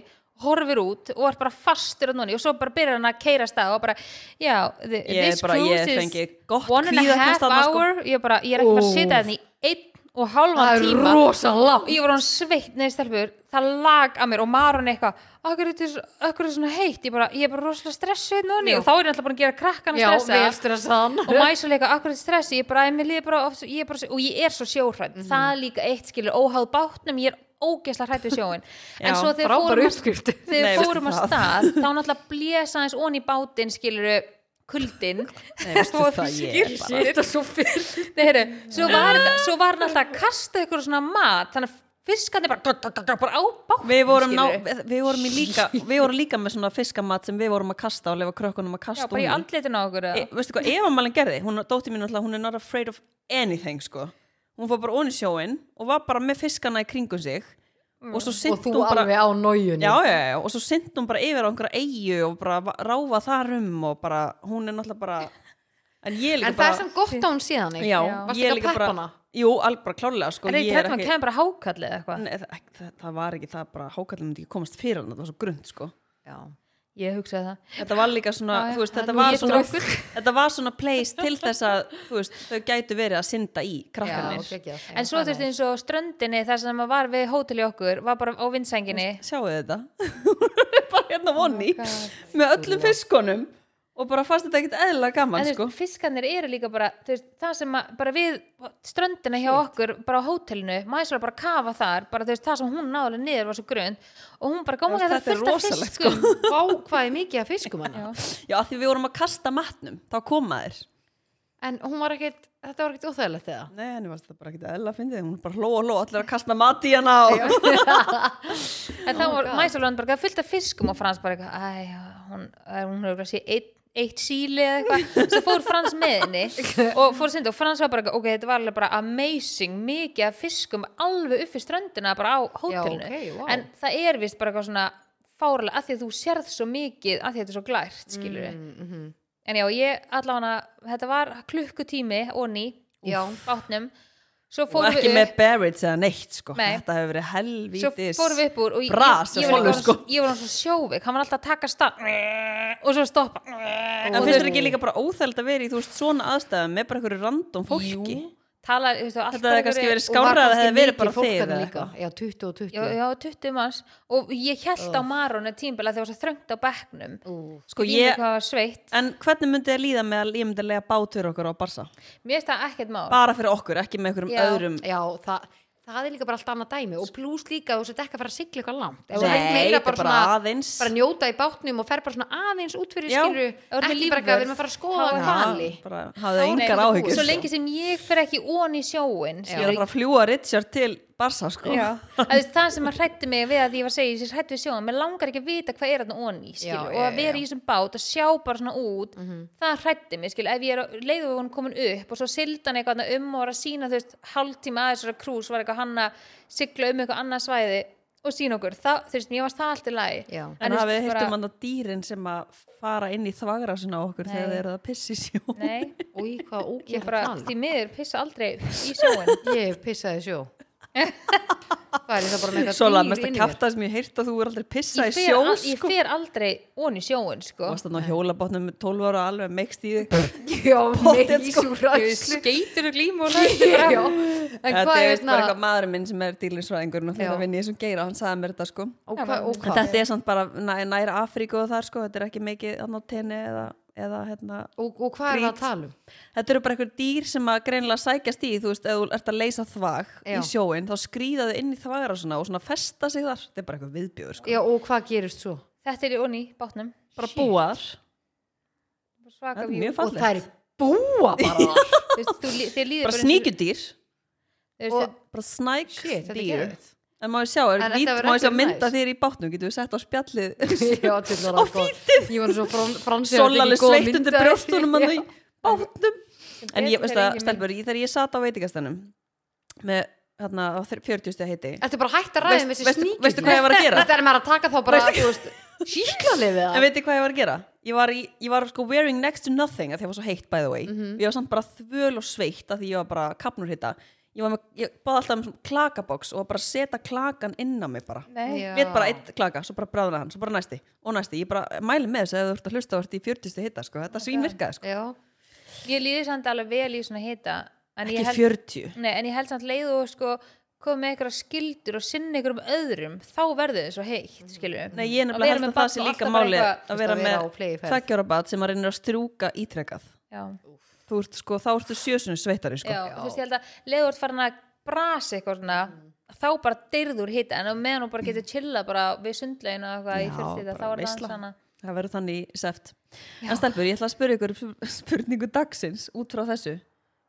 A: horfir út og er bara fastur að núni og svo bara byrjar hann að keira stað og bara já, the,
B: Ég er
A: this
B: bara- ég
A: cruise
B: fengi
A: is
B: gott
A: one and a half
B: kvíðakast þarna, sko.
A: hour ég, er bara, ég er ekki bara að sita þarna í einn og halvan
C: Það er
A: tíma
C: rosa
A: og
C: langt
A: ég var hann sveitt neði stelpur það lag að mér og marun eitthvað okkur er þetta svona heitt ég, bara, ég er bara rosalega stressuð núni
C: Já.
A: og þá er ég alltaf bara að gera krakkana
C: Já,
A: stressa
C: vel stressaðan
A: og mæsa líka akkurat stressi ég bara, mér líður bara, oft, ég er bara svo- og ég er svo sjóhrætt
C: Mhm.
A: það er líka eitt skilur óháð bátnum ég er ógeðslega hrætt við sjóin en
B: Já,
A: svo þegar
C: Frábæra
A: fórum, að-
C: uppskrift
A: þegar
B: Nei, veistu
A: fórum að
B: það?
A: stað þá náttúrulega blésa aðeins onni bátinn skilur kuldin
B: Nei, veistu það, ég er bara.
C: Þetta er svo fyrir
A: Nei, heyrðu, svo var, þetta- svo var hann alltaf að kasta ykkur svona mat þannig að fiskarnir bara, bara á bátnum
B: Við vorum, ná,
A: skilurðu.
B: við, vorum í líka, við vorum líka með svona fiskamat sem við vorum að kasta og lefa krökkunum
A: Já,
B: að kasta
A: bara í
B: ofan í.
A: andlitin á okkur eða?
B: E, veistu hvað, Eva Malin gerði, hún, dótti mín alltaf, hún er not afraid of anything, sko. Hún fór bara onni sjóin og var bara með fiskana í kringum sig og svo
C: Og
B: sint
C: þú
B: hún bara...
C: alveg á nójunni
B: Já, já, já, já, og svo sint hún bara yfir á einhverja eigu og bara va- ráfa þar um og bara, hún er náttúrulega bara... En ég er líka
C: En það
B: bara...
C: er sem gott á hún síðan
B: Já,
C: Varstu
B: ég
C: ekki
B: er
C: að
B: líka
C: peppa
B: bara
C: hana?
B: Jú, alveg bara klálega sko,
A: er það
B: ég
A: ekki
B: er
A: trætt hann kemur bara hákallið eða eitthvað
B: Nei, það, ekki- það, það var ekki það bara hákallin myndi ekki komast fyrir hann, það var svo grund sko.
C: Já,
A: ég hugsaði það
B: Þetta var líka svona,
A: Já, já,
B: þú veist,
A: það er
B: þetta
A: nú
B: var
A: ég
B: svona
A: drókul.
B: Þetta var svona place til þess að þú veist, þau gætu verið að synda í
C: já,
B: krakkanir
C: geggjað. Já,
A: En svo
C: það
A: þú
C: er
A: veist eins og ströndinni þar sem maður var við hótel í okkur var bara á vindsænginni
B: Sjáu þetta bara hérna vonni
A: Oh God.
B: með öllum fiskunum og bara fannst þetta ekkit eðlilega
A: en
B: gaman
A: þú
B: sko.
A: veist, fiskarnir eru líka bara þú veist, það sem að, bara við ströndina hjá okkur, bara á hótelinu maður svo bara kafa þar, bara þú veist, það sem hún náðulega niður var svo grunn og hún bara góma
B: Já,
A: að það er
B: þetta er
A: fullt af
B: rosalegt, sko.
A: fiskum
C: Vá, hvað er mikið af fiskum hana
B: Já, af því við vorum að kasta matnum, þá koma þér.
C: En hún var ekkert, þetta var ekkert óþægilegt eða
B: Nei, henni varst þetta bara ekkit eðla að fyndið, hún bara hló og hló, allir að kasta mat í hana og...
A: en
C: Oh
A: þá var Mæsarland bara eitthvað fullt af fiskum og Frans bara eitthvað, æ, já, hún, æ, hún hefur bara séð eitt, eitt síli eða eitthvað svo fór Frans með henni og fór sindi og Frans var bara eitthvað, ok, þetta var alveg bara amazing, mikið af fiskum alveg upp í ströndina bara á hótelinu
C: Já, ok, vá.
A: en það er vist bara eitthvað svona fárlega að því að þú sérð svo mikið að því að þetta er svo glært, skilur við
C: mm -hmm.
A: en já, ég allavega, þetta var klukkutími og ný,
C: Já.
A: bátnum svo
B: Og
A: fórum
B: ekki
A: við upp
B: með Barrett eða neitt sko.
A: Nei.
B: Þetta hefur verið
A: svo
B: helvítis.
A: fórum við upp úr og ég,
B: bras
A: ég,
B: að
A: ég, var,
B: follow, sko.
A: ég var hann svo sjóveik hann var alltaf að taka stað og svo stoppa
B: En finnst þér ekki líka bara óþæld að vera í þú veist svona aðstæðum með bara einhverju random fólki?
A: tala, þú veist, allt
B: Þetta hefði
A: bara
B: kannski
A: verið-
B: verið skárra að það hefði verið bara
C: fólk
B: þig
C: þarna
B: eða
C: líka
B: eitthvað.
C: Já, 20 og 20
A: já, já, 20 manns og ég held á marun tímbel að það var svo þröngt á bekknum
C: Ú.
B: Sko
A: ég
B: ég,
A: hvað var sveitt,
B: en hvernig myndi þér líða með að ég myndi að lega bátur okkur á barsa?
A: mér finnst það ekkert mál
B: Bara fyrir okkur, ekki með einhverjum
A: Já.
B: öðrum.
C: Já, það, það er líka bara allt annað dæmi og pluss líka þú sett ekki að fara að sigla eitthvað langt Ef þú
B: Nei,
C: vilt meira
B: þetta er bara
C: svona-
B: aðeins.
C: bara njóta í bátnum og fer bara svona aðeins út fyrir
B: Já,
C: skiluru
A: þú ert með
C: ekki bara ekki að við erum að fara að skoða
A: Já,
C: hvali
B: bara hafðu
A: Nei,
B: engar áhyggjur.
A: svo lengi sem ég fer ekki ón í sjóin
B: Ég er að
A: skilur,
B: fara að fljúa Richard til barsa sko.
A: Að þú veist, það sem að hrætti mig við að ég var að segja ég hrætti við sjóðan, mér langar ekki að vita hvað er þarna onni, skilu,
C: Já, já,
A: og að
C: já,
A: vera
C: já. Mhm.
A: í þessum bát og sjá bara svona út það hrætti mig, skilu, ef ég er að leiðu við hún komin upp og svo sildan eitthvað þarna um og var að sína, þú veist, hálftíma aðeins þessara krús var eitthvað hann að sigla um eitthvað annað svæði og sína okkur það, þú veist, mér varst það allt í lagi
C: Já.
A: En
B: En
A: þú
B: hafið
A: veist,
B: heitt
A: bara-
B: um hann að dýrin sem að fara inn í þvagrásuna á okkur þegar
A: Nei.
B: þeir eru að pissi sjó.
A: Nei,
C: Úi, hvað
A: ég
C: ógjörn
A: bara, því miður pissa aldrei í sjóin
C: Ég pissaði í sjó Það er það bara með
B: Svo
C: eitthvað
B: mest að kæfta sem ég heirt að þú er aldrei pissa
A: ég
B: í
A: fer,
B: sjó
A: al- ég
B: sko.
A: fer aldrei ón í sjóin, sko
B: Þú varst þannig á hjólabotnum með 12 ára og alveg meikst í þig.
C: Já,
B: Pottet,
C: nei,
B: sko.
C: svo ræðslu
A: skeitur og glím og
C: Já,
A: lætur
C: en
B: Þetta er
C: hvað er
B: bara eitthvað
C: það
B: maðurinn minn sem er dýlinsfræðingur og
C: Já.
B: þetta vinn ég sem geira, hann sagði mér þetta sko.
C: Og hvað, og
B: En
C: hvað,
B: þetta er samt bara næ- nær Afríku og þar sko, þetta er ekki mikið annað tenni eða, eða hérna.
C: og, og hvað er það
B: Grít.
C: að tala um?
B: Þetta eru bara eitthvað dýr sem að greinilega sækjast í, þú veist, ef þú ert að leysa þvag
C: Já.
B: í sjóin, þá skrýða þau inn í þvagra og svona og svona festa sig þar. Þetta er bara eitthvað viðbjöður sko.
C: Já, og hvað gerist svo?
A: Þetta er í onni, bátnum
B: Bara búar.
A: svaka
B: Þetta er
A: vjú
B: mjög
C: Og það er
B: fallegt.
C: búa bara þar.
A: Þú veist, þú lí- þér líður
B: Bara
A: eins og-
B: sníkjudýr.
A: Þú veist,
C: Og-
A: þetta-
B: Bara snæk
C: Shit, þetta er
B: dýr.
C: geðveikt.
B: En má ég sjá, er
C: En þetta
B: vít,
C: verður
B: má ég sjá
C: ekki
B: mynda
C: næs.
B: þér í bátnum, getur við sett á spjallið
C: Já, til það var góð Ég var svo frans fransið að þetta er
B: Sólalið
C: ekki góð
B: sveitt
C: mynd
B: undir
C: af þessu.
B: brjóstunum hann í bátnum En ég
A: betur
B: veist
A: er
B: að,
A: engin
B: stelpur, ég- þegar ég sat á veitingastanum með hérna á þr- 40 stið heiti
C: Ertu bara hægt að ræða um
B: Veist-
C: þessi
B: veistu-
C: sníkjur?
B: veistu hvað ég var að gera?
C: Þetta er maður að taka þá bara, þú veist, síklarlið við
B: En
C: það.
B: veitir hvað ég var að gera? Ég var, í, ég var sko wearing next to nothing að því ég var svo heitt by the way
C: Mhm.
B: Ég var samt bara þvöl og sveitt að því ég var bara kapnur hitta Ég var með, ég báði alltaf um svona klakabox og var bara að setja klakan inn á mig bara
A: Nei.
C: Já.
B: Við bara eitt klaka, svo bara bráðna hann, svo bara næsti og næsti Ég bara mæli með þess að ef þú ert að hlusta og ert í 40 stið hitta sko. Þetta svínvirkaði sko.
C: Já,
A: Ég líður samt alveg vel í svona hita En ég
B: Ekki
A: held,
B: 40
A: nei, en ég held samt leið og sko komið með eitthvað skildur og sinni ykkur um öðrum þá verður þið svo heitt, skilur
B: Nei, ég er nefnilega held að það sé líka máli að vera
C: að vera á
B: með
C: fleygiferð.
B: tveggjóra bat sem að reynir að strúka ítrekað.
A: Já,
B: Þú ert sko, þá ertu sjösunni sveitari sko.
A: já, þú veist, ég held að leið og ert farin að brasa eitthvað svona
B: Mm.
A: þá bara dyrður hita en á meðan hún bara getur chillað bara við sundlegin og eitthvað í
B: Já,
A: fyrst hita, þá
B: bara
A: er það
B: veisla.
A: aðeins hana
B: Það verður þannig í seft. En stelpur, ég ætla að spyrja ykkur sp- spurningu dagsins út frá þessu,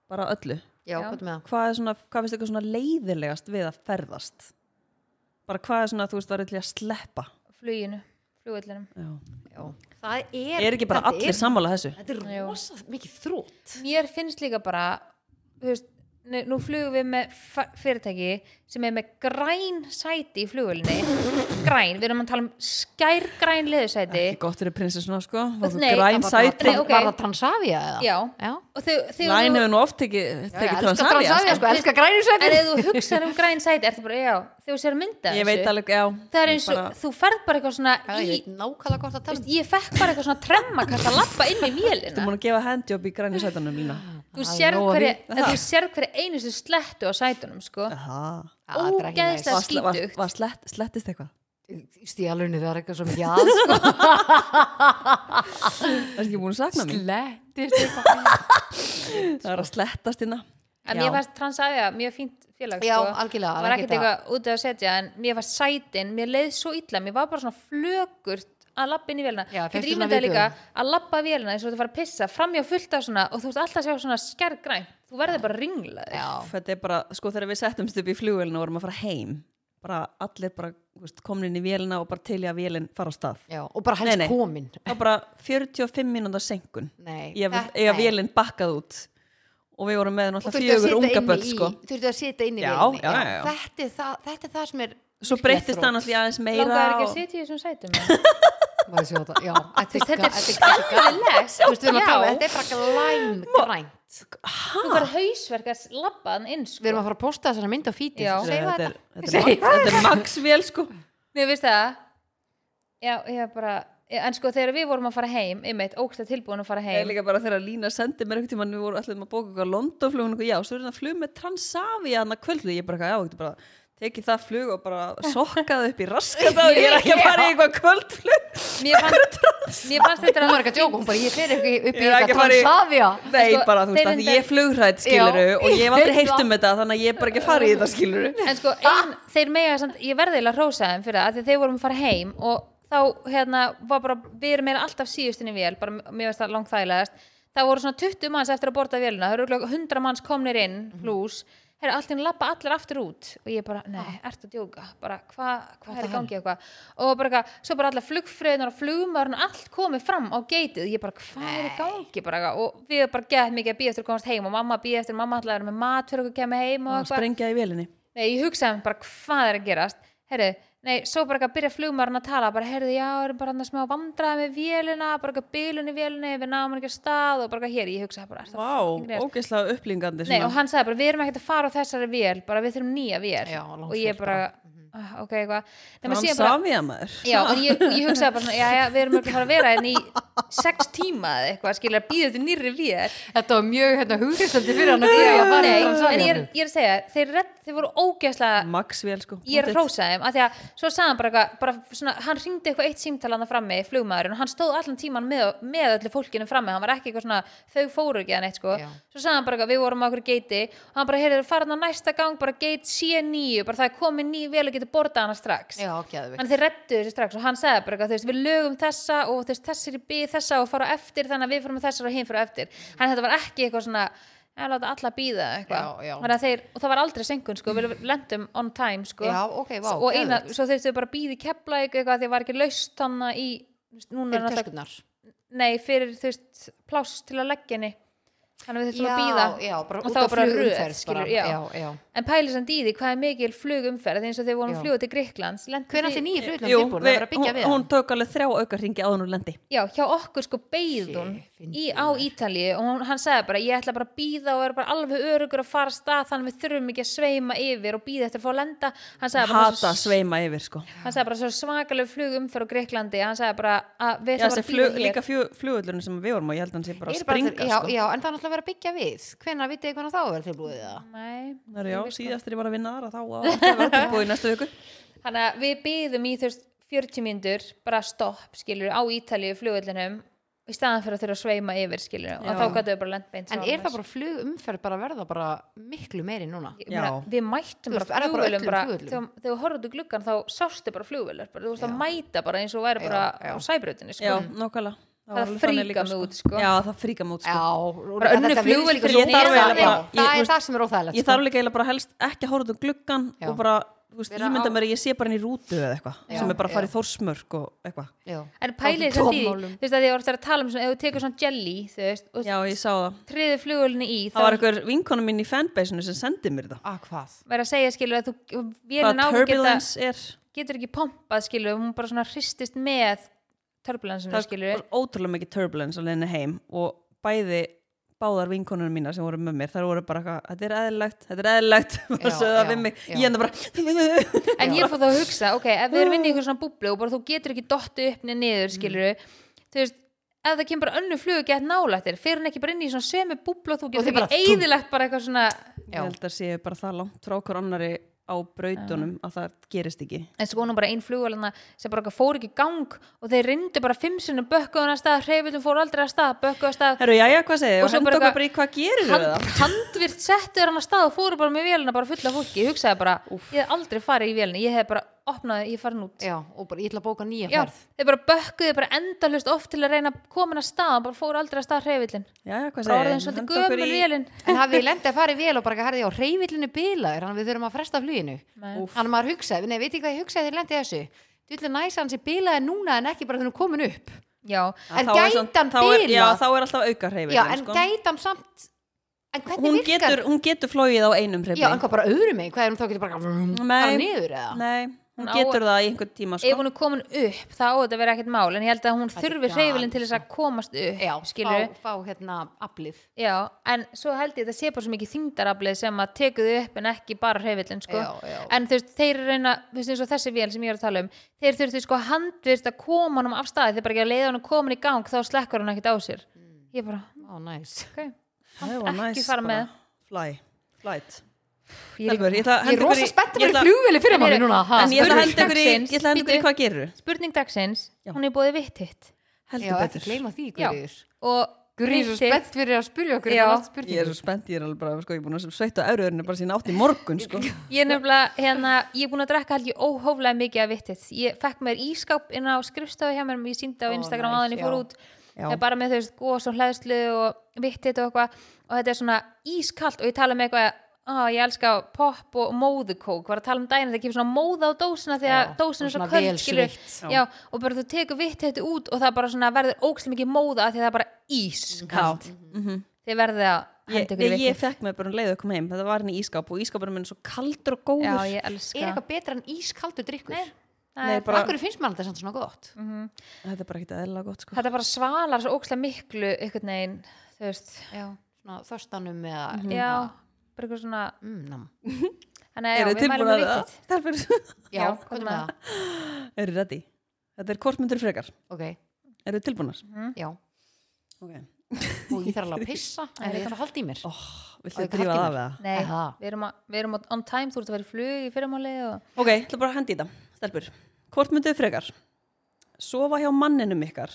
B: bara öllu.
C: já, hvað er með það?
B: Hvað, er svona, hvað finnst ykkur svona leiðilegast við að ferðast? Bara hvað er svona, þú veist, verður til að sleppa?
A: fluginu, flugullinum
B: Já.
C: Já. Það er,
B: Er ekki bara
C: þetta
B: allir sammála þessu?
C: Þetta er rosa mikið þrótt.
A: mér finnst líka bara þú veist, nú nú flugum við með fa- fyrirtæki sem er með græn sæti í flugulni græn, við erum að tala um skærgræn leðusæti
B: Ekki gott fyrir prinsessuna sko, var þú
A: Nei, það
B: græn
C: Var
B: sæti.
A: Nei, ok.
C: það Transavia eða?
A: já,
C: Já.
A: og þau, þau
B: Læn
A: þú,
B: hefur nú oft tekið
C: Já, ég
B: tekið
C: elska Transavia, sko, elska
A: en
C: grænjusætið.
A: ef þú hugsar um græn sæti ertu bara, já, þegar þú sér mynda
B: Ég veit alveg, já.
A: það er eins og,
B: Bara-
A: þú ferð bara eitthvað svona
C: Ég
A: í,
C: veit nákvæmlega hvort að
A: þú
C: tala um-
A: veist, ég fekk bara eitthvað svona tremma kannski að lappa inn í
B: Þú
A: vélina
B: múin að gefa handjob í græni sætanum lína.
A: þú
C: Það er
A: sér
C: nóg að hérna.
A: hverja
C: vita.
A: en þú sér hverja einustu slettu á sætunum sko
B: Aha.
C: um. Ah, þetta er ekki
A: Ógeðslega
C: næs.
B: Var, var,
A: skítugt.
B: var slett, slettist eitthvað?
C: stíalunni það er eitthvað sem jáð sko.
B: Það er ekki búin að sakna mig.
C: slettist
B: Það
C: sko.
B: er að slettast hérna.
A: en mér fannst Transavia mjög fínt félag
C: já,
A: sko.
C: algjörlega
A: var ekkert eitthvað út að setja en mér var sætin, mér leið svo illa mér var bara svona flökurt að labba inn í vélina
C: Já, fékkstu
A: getur
C: svona
A: ímyndaði líka
C: viðbrögð?
A: að labba vélina eins og þú fara að pissa framjá fullt af svona og þú ert alltaf að sjá svona skergræn þú verður bara ringlaður
C: já,
B: Þetta er bara, sko þegar við settumst upp í flugvelinu og vorum að fara heim, bara allir bara þú veist, komin inn í vélina og bara til í að vélin fara á stað.
C: já, og bara helst
B: Nei, nei.
C: komin
B: Það var bara 45 mínúnda senkun.
C: nei,
B: Ég
C: þetta-
B: að
C: nei.
B: vélin bakkað út og við vorum með
C: Og
B: náttúrulega
C: þurftu að
B: fjögur
C: sitja
B: unga
C: inni
B: börn
C: í-
B: sko.
C: þurftu að sitja inn í
B: Já,
C: vélinni,
B: já, já, já.
C: Þetta, er það, þetta er það sem er
B: Svo breyttist það náttúrulega aðeins meira.
A: langar ekki
B: og-
A: að sitja í þessum sætum eða?
C: Maður sjá það, já, þetta er
A: þetta er
C: skallilegt Þetta
A: Já.
C: er bara glæmgrænt
A: þú fara hausverk að labba hann inn
C: Við erum
A: sko.
C: að fara að posta þessari mynd á fíti
A: Já.
C: Segðu
B: Þetta
C: þetta
B: er- þetta er- Þetta er max vel sko.
A: mér finnst það já, ég bara en sko þegar við vorum að fara heim einmitt, ógsta tilbúin að fara
B: Það er
A: heim
B: líka bara þegar Lína sendi mér einhvern tímann við vorum allir að bóka eitthvað Londonflug og eitthvað, já, svo er þetta flug með Transavia hann að kvöldu, ég bara, eitthvað, já, getur bara tekið það flug og bara sokkaði upp í raskat og ég er ekki að fara í eitthvað kvöldflug
A: mér fannst, mér fannst þetta
C: Hún var ekki að djóka, hún bara ég fer ekki upp
B: Ég
C: í
B: er ekki
C: eitthvað
B: að fara í-
C: Transavia
B: Nei,
A: Sko,
B: bara, þú
A: þeir
B: veist, að
A: reyndar-
B: ég er flugrætt skiluru
C: Já.
B: og ég hef aldrei heyrt um þetta þannig að ég er bara ekki að fara í þetta skiluru
A: en sko, ein, þeir mega samt, ég verði eiginlega að hrósa þeim fyrir það, af því að þeir vorum að fara heim og þá, hérna, var bara við erum meira alltaf síðustinni vél, bara mér veist það langt þægilegast, það voru svona 20 manns eftir að borta vélina, það eru örugglega 100 manns komnir inn, plus, herra, allt inn lappa allir aftur út og ég bara, nei, ertu að djóka bara, hvað hva er í gangi eitthvað og bara, eitthvað, svo bara allar flugfröðunar og flugmaður allt komið fram á geitið ég bara, hvað er í gangi bara, eitthvað?" og við erum bara gett mikið að býja eftir að komast heim og mamma býja eftir, mamma allar með mat fyrir okkur kemur heim og
B: og
A: eitthvað
B: sprengja í velinni
A: Nei, ég hugsaði mér bara hvað er að gerast Herru, nei, svo bara ekki að byrja flugmaðurinn að tala bara, herru, já, erum bara hann að smá vandraði með vélina, bara ekki að bylun í vélinni við náum ekki að stað og bara ekki hér ég hugsaði bara, er það
B: Vá,
A: fucking rétt?
B: ógeðslega upplýngandi
A: Nei, og hann sagði bara, við erum ekkert að fara á þessari vél bara við þurfum nýja vél
C: Já,
A: og ég
C: langsflug
A: bara, ah, ok, eitthvað Nei, maður síðan bara-
B: Transavia maður
A: Já, og ég, og ég hugsaði bara, svona, já, já, við erum örugglega að fara að vera henni í sex tíma eða eitthvað, skilja, býða þetta nýrri vél
C: Þetta var mjög hérna hugristandi fyrir hann að byrja að fara
A: Nei, en ég
C: í
A: er,
C: Transavia
A: ég er að segja, þeir, redd- þeir voru ógeðslega
B: Max vel sko
A: ég er að hrósa þeim að því að svo sagði hann bara, eitthvað, bara svona, hann ringdi eitthvað eitt símtalana frammi flugmaðurinn og hann stóð allan tíman með, með öllu fólkinu frammi, hann var ekki eitthvað svona þau fóru ekki hann eitt sko,
C: Já.
A: svo sagði hann bara eitthvað, við vorum á okkur geiti og hann bara heyrði farin á næsta gang bara geit C9, bara það er komið ný vel og getur bortað hana strax
C: Já, gæðum
A: Þannig þeir rettu þessu strax og hann sagði bara eitthvað, þú veist, við lögum þessa og þú veist, þessir í bíð þessa og fara á eftir þannig að við fyrir með þessar og hinn fyrir eftir. Þannig að þetta var ekki eitthvað svona, að láta alla bíða eitthvað.
C: Já, já.
A: Þannig að þeir, og það var aldrei senkun, sko, við lendum on time, sko.
C: Já, ok, vá,
A: Og eina,
C: geðveikt.
A: svo þurftu bara að bíða í kepla eitthvað því að var ekki laust hann í, þú veist, núna er
C: Fyrir
A: náttúrulega,
C: töskunnar
A: nei, fyrir, þú veist, pláss til að leggja henni. Þannig að við þurftum að
C: Já,
A: bíða.
C: já, bara
A: Og
C: út
A: það
C: af
A: var bara röð,
C: flugumferð bara.
A: skilur, já.
C: Já, já
A: En pælið samt í því hvað er mikil flugumferð eins og þegar við vorum
C: Já.
A: að fljúa til Greiklands lentu
C: Hvernig
A: þið-
C: allir nýjir hlutlega
B: Jú,
C: tilbúin að
B: við,
C: vera að byggja
B: hún,
C: við
B: hún tók alveg þrjá auka hringi áður nú lendi
A: Já, hjá okkur sko beigð hún
C: Sí, fyndið
A: í, á Ítalíu og hún, hann sagði bara ég ætla bara að býða og er bara alveg örugur að fara af stað þannig við þurfum ekki að sveima yfir og býða eftir að fá að lenda hann sagði bara,
B: Hata að sveima yfir sko
A: hann sagði bara svo svakaleg flugumferð á Greiklandi hann sagði bara að við
B: Já,
A: ætlum bara
B: þessi
A: að
B: flug,
A: býða hér
B: líka flugullurinn sem við vorum og ég held að hann sé bara að
C: Eru bara
B: springa
C: þeir- já,
B: sko.
C: já, en það er náttúrulega að vera að byggja við Hvenær vitið þið hvernig þá að vera tilbúið það?
A: Nei.
B: Það eru já, síðast þegar ég var að vinna þar að þá var alltaf að vera tilbúið í næstu viku
A: Þannig að við býðum í þú veist 40 mínútur bara stopp skilur á Ítalíu flugullinum í staðan fyrir að þurfa að sveima yfir skilur og
B: Já.
A: þá gætu við bara lent beint
C: En er það bara flugumferð bara að verða bara miklu meiri núna?
A: Ég meina,
B: Já.
A: við mættum
C: Þú
A: bara
C: veist, er það bara
A: flugvölum
C: öllum
A: bara,
C: flugvöllum?
A: þegar, þegar við horfum út í gluggan þá sástu bara flugvölar bara, þú veist að mæta bara eins og væri bara
C: Já, já.
A: á sæbrautinni sko.
B: Já, nákvæmlega
A: Það
B: var alveg þannig
A: fríkar
B: líka,
A: mig út, sko.
B: Já, það fríka mig út sko.
A: Bara önnur flugvél fyrir
C: fyrir
B: neðan.
C: Það
B: Ég-
C: er- það
B: ég-
C: er það sem er
B: Ég
C: óþægilegt sko.
B: þarf líka eiginlega bara helst ekki að horfa út um gluggan
C: Já.
B: og bara, þú veist,
C: Vera
B: ímynda
C: á-
B: mér að ég sé bara inn í rútu eða eitthvað
C: Já,
B: sem er bara að fara í
C: já.
B: þórsmörk og eitthvað
C: sko. Já.
A: en pælið
C: Á
A: þess að því
C: tómmálum.
A: þú veist að því að orðið er að tala um svona, ef þú tekur svona jelly þú veist, og
B: Já, ég sá það
A: triði flugvölinni í þá
B: Það var einhver vinkona mín í fanbase-inu sem sendi mér það
C: Ah, hvað?
A: væri að segja skilur að þú vélin
B: Hvað
A: á að geta,
B: turbulence er
A: getur ekki pompað skilur, hún bara svona hristist með turbulensinu
B: Það
A: skilur
B: var ótrúlega mikið turbulence á leiðinni heim og bæði báðar vinkonunum mína sem voru með mér þar voru bara eitthvað, þetta er eðlilegt, þetta er eðlilegt
C: Já,
B: og sögðu það
C: já,
B: við mig,
C: já.
B: ég enda bara
A: en ég fór þá að hugsa, ok, ef við erum inn í einhver svona búblu og bara þú getur ekki dottu upp niður niður, skilur þú veist, ef það kemur bara önnu flug gett nálægt þér, fyrir hann ekki bara inn í svona sömu búblu og þú
C: þið
A: getur
C: bara
A: ekki
C: túm.
A: eðilegt bara eitthvað svona
B: ég held að séu bara það langt frá okkur annari á brautunum að það gerist ekki
A: en svo var nú bara ein flugvælina sem bara eitthvað fór ekki í gang og þeir rindu bara fimm sinnum bökkuðun að stað, hreyfildum fór aldrei að stað bökkuðu að stað,
B: Herru, jæja, hvað segir
A: Og
B: þið?
A: svo
B: Henda
A: bara
B: okkur
A: eitthvað-
B: bara í hvað gerir við
A: hand,
B: það?
A: handvirt settu hann að stað og fóru bara með vélina bara fulla af fólki, ég hugsaði bara ég hef aldrei farið í vélina, ég hef bara opnaði, ég hef farin út
C: já, og bara ég ætla að bóka nýja
A: Já,
C: ferð
A: þeir bara bökkuðu bara endalust oft til að reyna að koma að stað og bara fóru aldrei að stað hreyfillin
B: Jæja, hvað
A: bara
B: segir
A: orðin svolítið gömul vélin
C: en hafið þið lendið að fara í vél og bara herði á reyvillinu bilaðir, þannig að við þurfum að fresta fluginu
A: Nei.
C: Úff. þannig að maður hugsaði, nei, veit ekki hvað ég hugsaði þegar ég lendið þessu Dullu næs hans er bilaði núna en ekki bara þegar hún er komin upp
A: já,
C: En gæti hann
B: þá er, Já,
C: bilað?
B: þá er alltaf auka hreyfing
C: Já, en gæti hann samt En hvernig
B: hún
C: virkar
B: getur, hún getur flóið á einum hreyfing
C: Já, en hvað bara öðrum megin, hvað er hún þá getur bara bara niður eða?
B: Nei, hún
A: Hún á-
B: getur það í einhvern tíma
A: ef
B: sko.
A: hún er komin upp þá á þetta verið ekkert mál en ég held að hún
C: er
A: þurfi
C: galið,
A: hreyfilin til þess að komast upp
C: Já,
A: skilurðu.
C: fá, fá hérna aflið
A: Já, en svo held ég að það sé bara svo mikið þyngdaraflið sem að tekuðu upp en ekki bara hreyfillin sko.
C: Já, já.
A: en þú veist, þeir reyna, þú veist eins og þessi vél sem ég er að tala um, þeir þurftu sko handvist að koma honum af staði, þeir bara ekki að leiða honum komin í gang þá slekkur hann ekkit á sér
C: Mm.
A: ég bara,
C: Ó, næs
A: ok,
B: Það
A: hann
B: var
A: ekki
B: næs
A: fara
B: bara.
A: með
B: Fly, flight
A: Ég er-
B: Elfur, ég ætla að
C: Ég er
B: henda ykkur
C: rosa
B: í-
C: spennt
B: ég
C: fyrir
B: ætla-
C: flugveli fyrir máli
A: Heyrðu,
C: núna ha?
B: En ég ætla að
A: Spurning
B: henda ykkur í,
A: dagsins,
B: ég ætla að henda ykkur í
A: bíddu.
B: hvað gerir
A: spurning dagsins,
B: Já.
A: hún er búið vitt hitt
C: Já,
B: Heldur
C: ekki
B: betur
C: gleyma því,
A: Já.
C: Guðríður
A: og
C: Guðríður er svo
A: hitt þitt-
C: spennt fyrir að spyrja okkur
A: Já.
C: um
B: Ég er
C: næstu spurningu.
B: svo spennt, ég er alveg bara, sko, ég er búin að sveita öruðurinn bara sína átt í morgun, sko.
A: Ég er nefnilega, hérna, ég er búin að drekka held ég óhóflega mikið af vittit. Ég fekk mér ískáp inn á skrifstofu hjá mér, ég síndi á
C: Ó,
A: Instagram
C: nice,
A: áðan ég fór
C: já.
A: út,
B: Já.
A: Eh, bara með þau veist gos og hlæðslu og vittit og eitthvað og þetta er svona ískalt og ég tala með eitthvað að ég elska pop og móðukók var að tala um dæna, það kemur svona móða á dósina þegar
C: Já,
A: dósina er svo
C: svona
A: köld
C: vel
A: skilur,
C: sveitt.
A: já, og bara þú tekur vitt þetta út og það bara svona verður ókslega mikið móða af því að það er bara ískalt þið verðið að
B: Ég,
A: henda ykkur í
B: ég, ég
A: vittið
B: fekk mig bara um leið að koma heim, þetta var hann í ískáp og ískápunum minn er svo kaldur og góður.
A: já, ég
C: Er
A: elska
C: eitthvað betra en ískaldur drikkur? Nei,
A: Það
B: Nei,
A: er-
B: bara-
C: Akkur finnst maður þetta samt svona gott
B: Þetta er bara ekkert eðlilega gott, sko.
A: þetta bara svalar svo ókslega miklu einhvern veginn, þú veist
C: Já, svona þörstanum eða
A: já, bara eitthvað svona
C: mm, nam.
A: þannig að já,
B: Eru
A: við mælum
B: tilbúin
A: við
B: að
A: vitið
B: Stelpur,
C: Já,
A: Já,
C: hvað er með það?
B: eru ready? Þetta er kortmyndur frekar.
C: Ok,
B: Eru tilbúinar?
A: Mhm.
C: já
B: Ok.
C: Og ég þarf alveg að pissa En ég þarf að halda í mér
B: Oh, Viltu
C: Og
B: að drífa það
C: kaffi mér.
B: við það?
A: Nei,
C: Aha.
A: við erum, að, við erum að on time, þú ert að vera í flug í fyrramáli og...
B: Ok, ég ætla bara að hendi í það. Stelpur, kortmyndur frekar. Sofa hjá manninum ykkar,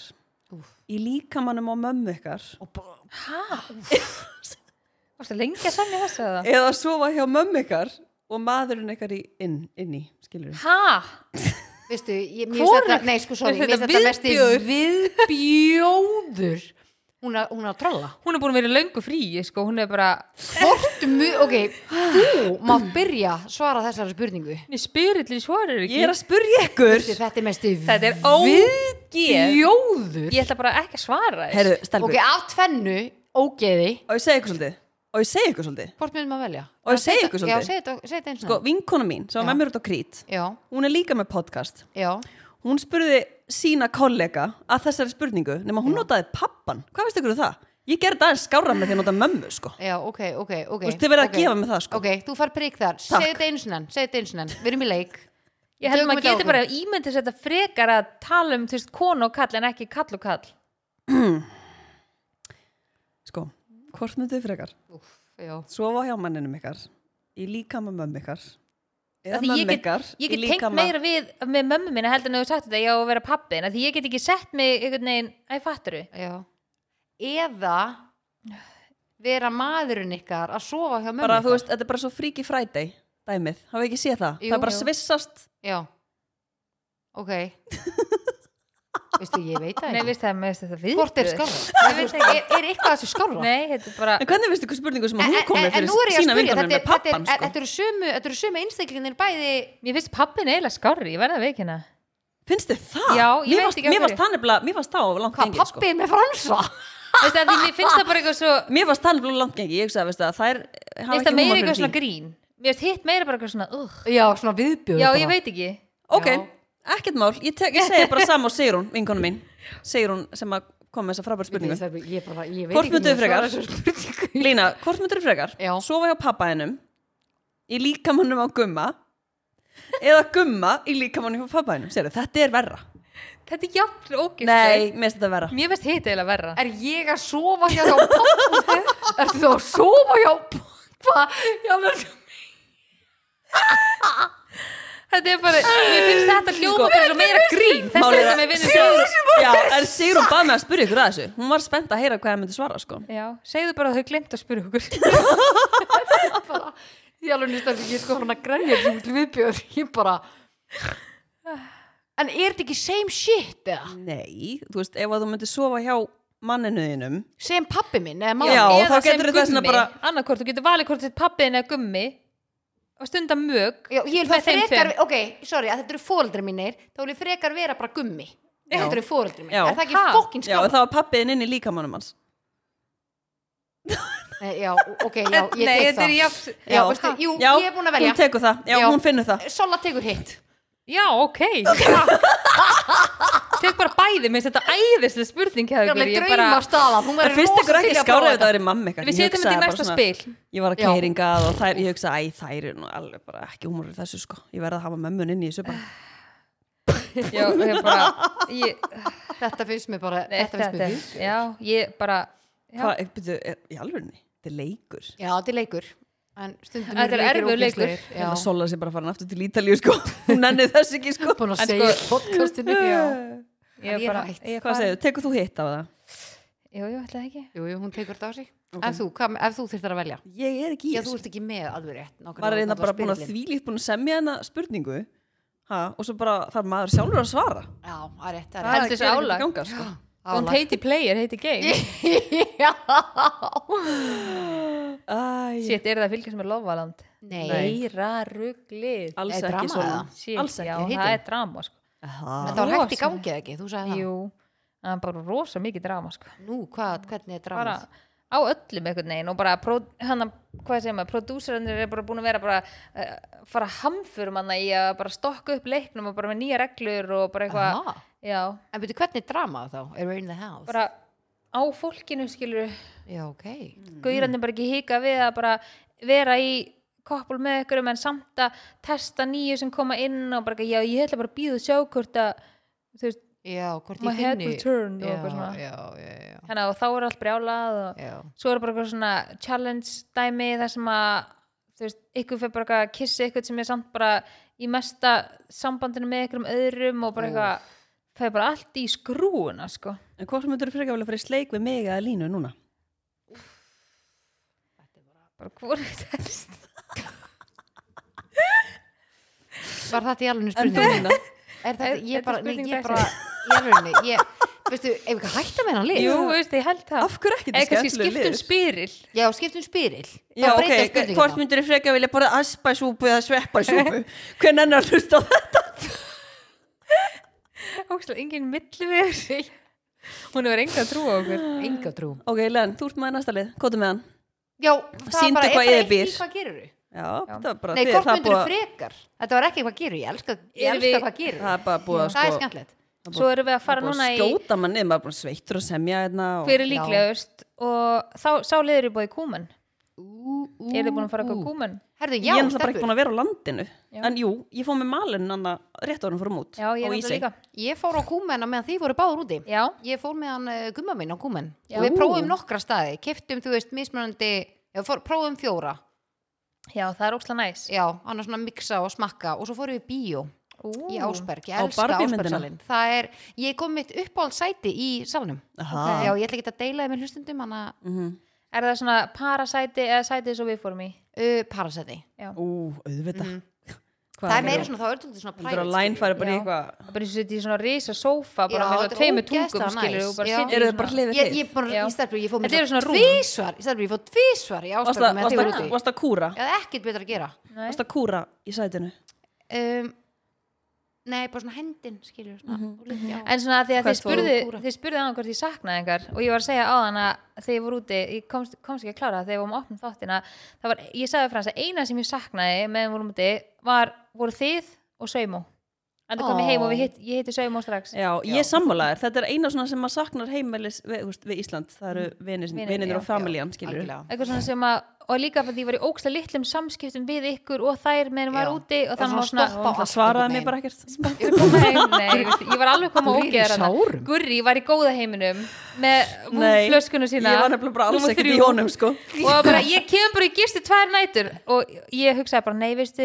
C: Úff.
B: í líkamanum á mömmu ykkar,
C: Og bara
A: Hæ? Varstu lengi að semja þessu eða?
B: eða sofa hjá mömmu ykkar og maðurinn ykkar í inn, inn í, skilur
A: Hæ?
C: Veistu, ég, mér
A: Hvorugt.
C: finnst þetta, nei sko, sorry,
A: Mér
C: mér
A: finnst
C: finnst þetta mesti viðbjóður. Hún er, hún er að trolla.
A: Hún er búin að vera í löngu frí, sko, hún er bara
C: Hvort mu, ok, þú mátt byrja að svara þessari spurningu.
A: Hún er spyrill í svarir
B: Ég er að spurja ykkur
C: Veistu, Þetta er mesti
A: Þetta er ógeð
C: viðbjóður.
A: Ég ætla bara ekki að svara þess
B: Herru, stelpur,
C: Ok, af tvennu, ógeði,
B: og ég segi ykkur svolítið og ég segi ykkur svolítið
C: hvort myndum að velja?
B: Og ég segi ykkur
C: Já,
B: svolítið.
C: segi þetta, segi þetta eins og
B: sko, vinkona mín, sem var
C: Já.
B: með mér út á krít
C: Já,
B: hún er líka með podcast
C: já.
B: hún spurði sína kollega að þessari spurningu nema hún notaði pappan hvað veist ykkur um það? Ég gerði aðeins skára með því að nota mömmu sko.
C: Já, ok, ok, ok
B: Þú veist, þið verða að
C: ok.
B: gefa mér það, sko.
C: Ok, þú far prigg þar,
B: Takk.
C: segð þetta eins og enn, segð þetta eins og enn Við erum í leik
A: Ég held
C: Tökum
A: maður
C: þetta á
A: geti
C: okkur.
A: bara ímyndið þetta frekar að tala um, þú veist, konu og kall en ekki kall og kall
B: sko, hvort myndu þið frekar?
C: Úff, já.
B: sofa hjá manninum ykkar í líkama mömmu ykkar eða
A: Af því ég
B: mömmu
A: get-
B: ykkar
A: Ég
B: í
A: get tengt meira við með mömmu minna heldur en þú sagt þetta ég á að vera pappin því ég get ekki sett mig einhvern veginn, æ, fattur
C: Já. Eða vera maðurinn ykkar að sofa hjá mömmu
B: bara, þú
C: ykkar.
B: veist, þetta er bara svo fríki frædei dæmið, hafa ekki séð það
C: Jú,
B: það er bara
C: jú.
B: svissast
C: Já. Ok. Veistu, ég veit það
A: Nei,
C: ekki.
A: veist það, mér veist þetta við
C: Hvort er skára?
A: Ég veit
C: Er, er eitthvað þessu skára?
A: Nei, þetta er bara
B: en hvernig veistu ykkur spurningu sem
C: En,
B: hún
C: en,
B: kom með
C: en nú
B: fyrir
C: er ég
B: sína
C: að spyrja,
B: vinkonum
C: þetta
B: með
C: er, þetta
B: pappan
C: er,
B: sko.
C: þetta eru sömu, þetta eru sömu einstaklinir bæði,
A: Mér finnst pappin eiginlega skári, ég verða að veikina
B: Finnst þið það?
A: Já, ég
B: mér
A: veit
B: varst,
A: ekki af
B: Mér
A: hverju.
B: varst það nefnilega, mér varst það á langt
C: hvað,
B: gengi sko.
C: pappi með fransa?
A: Veist það, því mér finnst það bara eitthvað svo Mér
B: Mér varst það nefnilega langt gengi, ég hugsaði veistu, að þær hafa
A: finnst það meira
B: fyrir
A: eitthvað svona
B: því.
A: grín Mér finnst hitt meira bara eitthvað svona uh.
C: Já, svona viðbjöð.
A: Já, ég veit ekki
B: Ok, ekkert mál, ég, tek, ég segi bara sama og Sigrún, vinkonu mín Sigrún sem að kom með þessa frábæra spurningu
C: Ég, ég, bara, ég veit
B: Hvort
C: ekki
B: mynduðu
C: hvernig ég
B: frekar?
C: svara þessari spurningu.
B: Lína, hvort myndir þú frekar?
C: Já.
B: Sofa hjá pappaðinum í líkamannum á gumma eða gumma í líkamannum hjá pappaðinum Sérðu, þetta er verra
A: Þetta er jafn ógist
B: Nei, mér finnst þetta verra
A: Mér finnst hitt eiginlega verra
C: er ég að sofa hjá hjá pappa? Ertu þú að sofa hjá pappa? Já, menn,
A: Þetta er bara, mér finnst þetta hljóma sko, svo meira grín Þetta er
B: Málið
A: þetta
B: að-
A: með vinnum sjóður
B: Já, en Sigrun bað mig að spyrja ykkur að þessu Hún var spennt að heyra hvað það myndi svara sko.
A: Já, segðu bara að þau glemt að spyrja okkur
C: bara, ég alveg nýst að ég er sko hann að grænja sem til viðbjör, ég bara en er þetta ekki same shit eða?
B: Nei, þú veist, ef að þú myndi sofa hjá manninuðinum
C: Same pappi minn eða
B: Já,
C: mamma?
A: Eða
B: þá getur
A: sem
B: þetta svona
A: gummi.
B: bara-
A: Annarkvort, þú getur valið hvort þitt pappiðin eða gummi og stunda mög
C: Já, ég vil það
A: Með þeim
C: frekar, ok, sorry, að þetta eru fóreldri mínir þá vil ég frekar vera bara gummi
B: Já.
C: þetta eru fóreldri mínir,
B: Já.
C: er það ekki
A: Ha?
C: fokkin
B: Já,
C: skála?
B: þá var pappiðin inn í líkamannum hans
C: Nei, já, ok, já, ég
A: Nei,
C: tek
A: þetta
C: það
A: er
C: já,
A: jafn-
C: veistu, jú,
B: Já,
C: ég er búin að velja
B: Hún tekur það, já,
C: Já.
B: hún finnur það
C: Sola tekur hitt
A: Já, ok Tek bara bæði, mér finnst þetta æðislega spurning hjá
C: Það er
A: ykkur
C: alveg
A: Ég bara,
C: drauma staðan, hún
B: Það
C: verður
B: finnst ykkur
C: rosa
B: ekki
C: til í að
B: skára
C: prófa
B: ef það væri mamma ykkar
A: við
B: Ég
A: setjum
B: hugsaði
A: þetta í
B: bara
A: næsta
B: svona-
A: spil
B: Ég var að
C: Já.
B: keiringað og þær, ég hugsa, æ, þær eru nú alveg bara ekki húmur í þessu sko Ég verð að hafa mömmun inn í þessu bara
A: Já, ég bara ég,
C: þetta. Þetta finnst mér bara,
A: Nei,
C: þetta finnst mér
A: er- Já, ég bara já.
B: Hvað, byrju, er, í alvegni, þetta er leikur
C: Já, þetta er leikur En stundum
A: Þetta er
C: eru
A: erfiður leikur.
C: ógeðslegir.
B: Ég held að Sola Hérna sé bara farin aftur til Ítalíu sko Hún nennið þess ekki sko
C: Já, búin að
A: En
C: segja
A: sko-
C: podcastinu Já En
A: Ég
C: ég er
A: bara
C: hætt.
A: ég er
B: Hvað
A: farin.
B: segir, tekur þú hitt af það?
A: Jú, jú, ætlaði ekki
C: Jú, jú, hún tekur þetta á sig En þú, hvað, ef þú þyrftir að velja
B: Ég er ekki í
C: Já,
B: þessu.
C: þú ert ekki með alveg rétt nákvæmlega,
B: maður er
C: þú
B: einnig
C: ert
B: bara búin að
C: spyrillinn.
B: þvílíkt búin að semja hana spurningu ha, og svo bara þarf maður sjálfur að svara
C: Já, það er rétt, það
A: Það er
C: er rétt
A: þessi
B: gerir
A: álag.
B: ekki ganga, sko.
A: Don't
C: Álag.
A: hate the player, hate the game
C: Já
B: Æ,
A: Sitt, er það að fylgjast með Lovaland?
C: Nei,
A: Meira ruglið
B: alls
C: Er
B: ekki
C: drama
B: svona
C: eða?
A: Shit,
B: alls
A: Já,
B: ekki
C: Heitir
A: það
C: hún?
A: er drama sko.
B: Aha.
C: þetta var hægt í
A: Rosaleg.
C: gangi eða ekki, þú sagði það
A: Jú, það er bara rosa mikið drama sko.
C: Nú, hvað, hvernig er
A: bara
C: drámað?
A: á öllum einhvern veginn og bara pró- hana, hvað segir maður, prodúserinir er bara búin að vera bara uh, fara hamfur manna í að bara stokka upp leiknum og bara með nýja reglur og bara eitthvað
C: Aha.
A: já,
C: En byrju, hvernig er dramað þá? Eru in the house?
A: bara á fólkinu skilur
C: Já, ok
A: gaurarnir bara ekki hika við að bara vera í koppul með ykkur en samt að testa nýju sem koma inn og bara, eitthvað, já, ég ætla bara að býða og sjá hvort að, þú veist,
C: Já, hvort
A: my
C: ég
A: head
C: finni
A: will turn og
C: Já,
A: eitthvað svona
C: já, já, já,
A: þannig að þá er allt brjálað og
C: já.
A: svo er bara eitthvað svona challenge dæmi þar sem að þú veist, ykkur fyrir bara eitthvað að kissa ykkur sem er samt bara í mesta sambandinu með ykkur um öðrum og bara eitthvað það er bara allt í skrúuna sko
B: en hvort myndur þú frekar vilja fara í sleik við mig eða línu núna
A: bara hvort þess
C: Var þetta í alveg
B: en þú
C: spurning?
B: lína
C: Er þetta,
A: Er-
C: ég
A: þetta
C: bara,
A: er
C: nei,
A: spurning
C: ég bara, í alveg, ég, veistu, ef ekki hætta með hann lið?
A: jú, veist, ég held það
B: af hverju ekki
A: eða kannski um skiptum spyril
C: Já, skiptum spyril.
B: Já,
C: Þá breyta
B: ok,
C: spurningum
B: hvort
C: þá.
B: myndur þú frekar vilja bara asparsúpu eða svepparsúpu hvernig enn að hlusta á þetta
A: ógstlega, enginn milli við hún er verið enga að trúa okkur
C: Enga trú.
B: ok, Len, þú ert maður næsta lið, kóta með hann
C: Já, það
B: Sýndu
C: bara,
B: hvað
C: er
B: yður
C: bara
B: býr.
C: eitt í hvað gerur þú?
B: já, það er bara
C: Nei,
B: þið-
C: hvort
B: það er
C: myndur þú
B: búið-
C: frekar? Þetta var ekki hvað gerur, ég elska, ég
A: Er við-
C: elska hvað gerur.
B: það er bara búið að
C: Það er
B: sko
C: skemmtilegt.
A: svo erum við að fara
B: búið
A: núna
B: að
A: í
B: skjóta manni maður er bara sveittur að semja hérna og-
A: hver er líklegust og þá sá liður í bóði kúmen eru þið búin að fara eitthvað kúmen?
C: Herðu,
B: ég
C: já,
B: er náttúrulega bara ekki
C: stelpur.
B: búin að vera á landinu
A: Já.
B: en jú, ég fóð með malin hann rétt árum fórum út
A: já, ég
B: á
A: er
B: Ísey.
A: náttúrulega líka
C: Ég fór á kúmenna meðan þið voru báður úti.
A: já,
C: Ég fór með hann uh, gumma minn á kúmen
A: Já.
C: og við
B: Ú.
C: prófum nokkra staði, keftum, þú veist, mismunandi, já, fór, prófum fjóra,
A: já, það er ógstlega næs
C: já, annars svona miksa og smakka og svo fórum við í bíó
A: Ú,
C: í Ásberg, ég
B: Á
C: elska
B: Barbie-myndina?
C: Ásbergsalinn. Það er, ég kom mitt uppáhald sæti í salnum.
B: Aha.
C: Já, ég ætla ekki að deila þið með hlustundum, hann að
B: Mhm.
A: er það svona parasæti eða sæti svo við fórum í
C: uh, parasæti.
B: ú, auðvitað Hvað
C: Það er meira
B: eru-
C: svona, þá er þetta
B: heldur
C: svona
B: að
C: private,
B: læn fari bara í
A: Já.
B: eitthvað
A: bara eins og þetta í svona risa sófa bara
C: Já,
A: með
C: þetta
A: svona
C: er
A: tveimur
C: ógeðslega
A: tungum skilur
C: næs.
A: og bara
C: Já.
A: sitja
B: eru
A: í
B: þið bara
A: svona
B: hlifið
C: Ég,
B: þið
C: ég, bara,
A: Já.
C: í stærpur, ég fór mér
A: Þetta eru svona rúm.
C: tvísvar, í stærpur, ég fór tvísvar í
B: varst að-
C: Ásberg með
B: varst
C: þið
B: að-
C: voru úti.
B: varst að kúra
C: Já, það er ekkert betra að gera.
A: Nei.
B: varst að kúra í sætinu
C: um, Nei, bara svona hendin skilur svona, mm -hmm.
A: Mhm. en svona því að
B: Hvert
A: þið spurðu
C: fóruð?
A: þið spurðu annað hvort ég saknaði einhver og ég var að segja á hana þegar ég voru úti ég komst, komst ekki að klára það þegar ég vorum opnum þáttina það var, ég sagði frá hans að eina sem ég saknaði meðan við vorum úti var voru þið og Saumó en það kom ég heim og við hitt, ég hitti Saumó strax
B: já, ég sammálaðir, þetta er eina svona sem maður saknar heimelis við, þú veist, við Ísland það eru
A: Mm. Vinir,
B: vinnir
A: já,
B: og familjan skilur
A: eitthvað svona sem að og líka fyrir því ég var í ógsta litlum samskiptum við ykkur og þær meðan ég var
C: Já.
A: úti og
C: Það
A: þannig
C: var
A: var svona
C: stopp á
B: það svaraði mér bara ekkert
A: nei, nei, ég var alveg koma
C: Gurrí er í
A: ógeðar hana.
C: sárum.
A: Gurrí var í góða heiminum með
B: Nei,
A: flöskuna sína
B: ég var nefnilega bara alls
A: númer
B: ekkert
A: þrjú.
B: í honum sko
A: og bara ég kem bara í gistu tvær nætur og ég hugsaði bara nei veistu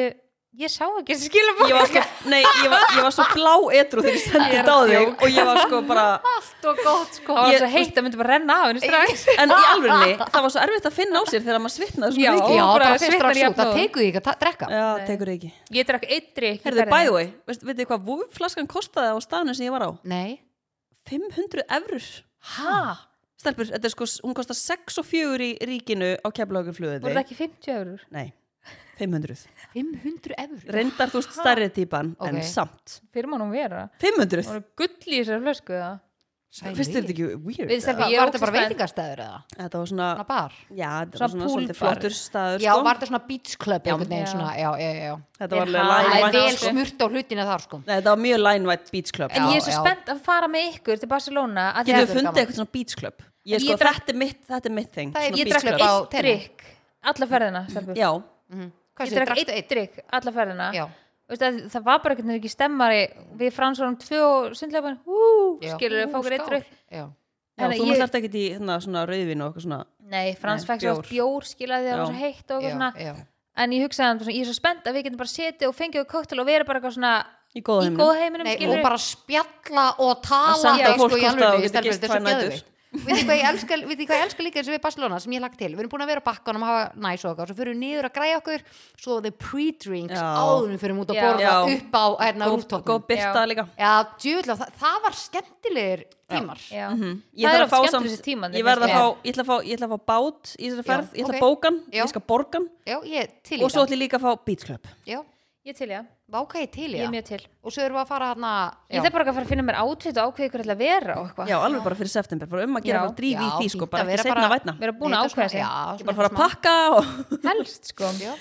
A: ég sá ekki þessi skilabóð
B: ég var sko, nei, ég var, ég var svo blá etru þegar ég sendi þetta á þig og ég var sko bara,
C: allt og gott sko
A: það var
B: Ég-
A: svo heitt að myndi bara renna af henni strax
B: en í alvörinni það var svo erfitt að finna á sér þegar maður svitnaði
A: Já.
B: svo mikið
C: já,
A: bara
C: bara
A: svitnar
C: fyrst strax
A: jafn
C: út, það
A: og-
C: tekur því ekki að ta- drekka
B: já, tekur ekki
A: ég drakk eitri
B: Herðu, by the way, veist, veitu hvað vúflaskan kostaði á staðinu sem ég var á?
C: nei,
B: 500 eurur
A: ha,
B: Stelpur, þetta er sko, hún kostar 6 og 4 í ríkinu á
A: voru það
B: keflaugarflöðinni.
A: ekki 50 eurur
B: Nei, 500.
C: 500 efur
B: Reyndar þú veist stærri típan, en
C: Ok.
B: samt.
A: fyrir mánum vera,
B: 500.
A: voru gull í þessar flösku eða?
B: Fyrst er þetta ekki weird?
A: Við
B: eða?
A: stelpur-
C: Var,
A: Ég er
C: var þetta bara
A: ógeðslega spennt.
C: veitingastæður eða?
B: Þetta var svona,
C: Svona bar?
B: já, þetta
A: Svona
B: var svona
A: pool
B: svolítið
A: bar.
B: flottur staður,
C: Já,
B: sko.
C: var þetta svona beach club einhvern veginn
A: Já.
C: svona, já, já, já, já.
B: Þetta
A: Þeir
B: var alveg
A: hafa-
B: line
C: Það er
A: vænt,
C: vel
A: sko.
B: white.
C: smurt á hlutina þar sko
B: Nei, þetta var mjög line white beach club.
A: en
C: Já,
A: ég er svo
C: já.
A: spennt að fara með ykkur til Barcelona að að
B: Getur við
C: Þetta er
B: fundið
C: gaman.
B: eitthvað svona beach club? Ég,
A: En
B: sko,
A: ég drakk-
B: þetta er mitt, þetta er mitt þing.
C: Það er-
B: svona
A: ég
B: beach
A: drakk
B: club.
C: á
A: eitt
C: Tenerife.
A: drikk alla ferðina stelpur.
B: Já,
A: ég
C: Mhm. Hvað séu,
A: drakk
C: drakstu
A: eitt drikk alla ferðina
C: Já,
A: Veist að, það var bara eitthvað ekki stemmari við fransórum tvö og sundlega bara hú,
C: já.
A: skilur
C: Ú,
A: við fókur eitt
C: skál.
A: drikk
C: Já,
B: já
A: Þannig
B: þú
A: að
B: ég...
A: ég-
B: þarft ekkert í hérna, svona rauðvin og eitthvað svona.
A: nei, Frans
B: Nei,
A: fekk svo oft bjór skilaði það var
B: Já.
A: svo heitt og
C: já,
A: eitthvað svona
C: já.
A: en ég hugsaði hann, svona, ég er svo spennt að við getum bara setið og fengið koktel og verið bara eitthvað svona
B: Í góða
A: í
B: heiminum.
A: góð heiminum
C: Nei,
A: skilur
C: og bara spjalla og tala
B: Að senda
C: sko,
B: fólk
C: í
B: hvort
C: alvörunni,
B: að þú getur
C: stelpur,
B: gist
C: þetta er
B: tvær
C: svo
B: nætur.
C: geðveikt. Vitið hvað ég elska- vitið hvað ég elska líka eins og við Barcelona sem ég lagt til, við erum búin að vera á bakkanum að hafa næs og okkar, svo fyrir við niður að græja okkur svo the pre-drinks
B: Já.
C: áðunum fyrir út að
A: Já.
C: borða
B: Já.
C: upp á hérna
B: Góð-
C: rúftopnum
B: Góð byrta
A: Já.
B: líka.
C: Já, djúvilega, það, það var skemmtilegir tímar
A: Já.
B: Mhm. Ég
A: það
B: þarf
A: er
B: að fá
A: oft
B: samt,
A: skemmt þessi tíma
B: ég verð að fá, ég ætla að fá, ég ætla að fá bát í þessari
C: Já,
B: ferð, ég ætla að
C: ok.
B: bókan,
C: Já.
B: ég skal borgan
C: Já, ég til í
B: og svo
C: það
B: ætla ég líka að fá beach club.
C: Já,
A: ég til já,
C: váka ég til í
A: ég er
C: það
A: mjög til
C: Og svo erum við að fara hérna
A: ég þarf bara að fara að finna mér átvit og ákveði ykkur ætla að vera og eitthvað
B: Já, alveg bara fyrir september, bara um að
A: Já.
B: gera bara drífi í
C: Já,
B: því
C: fínt
B: sko,
C: að
B: bara
C: vera
B: ekki setna
C: bara-
B: að vætna.
A: vera búin að ákveða sig
C: Já,
B: Bara fara að pakka og...
A: helst sko
C: Já.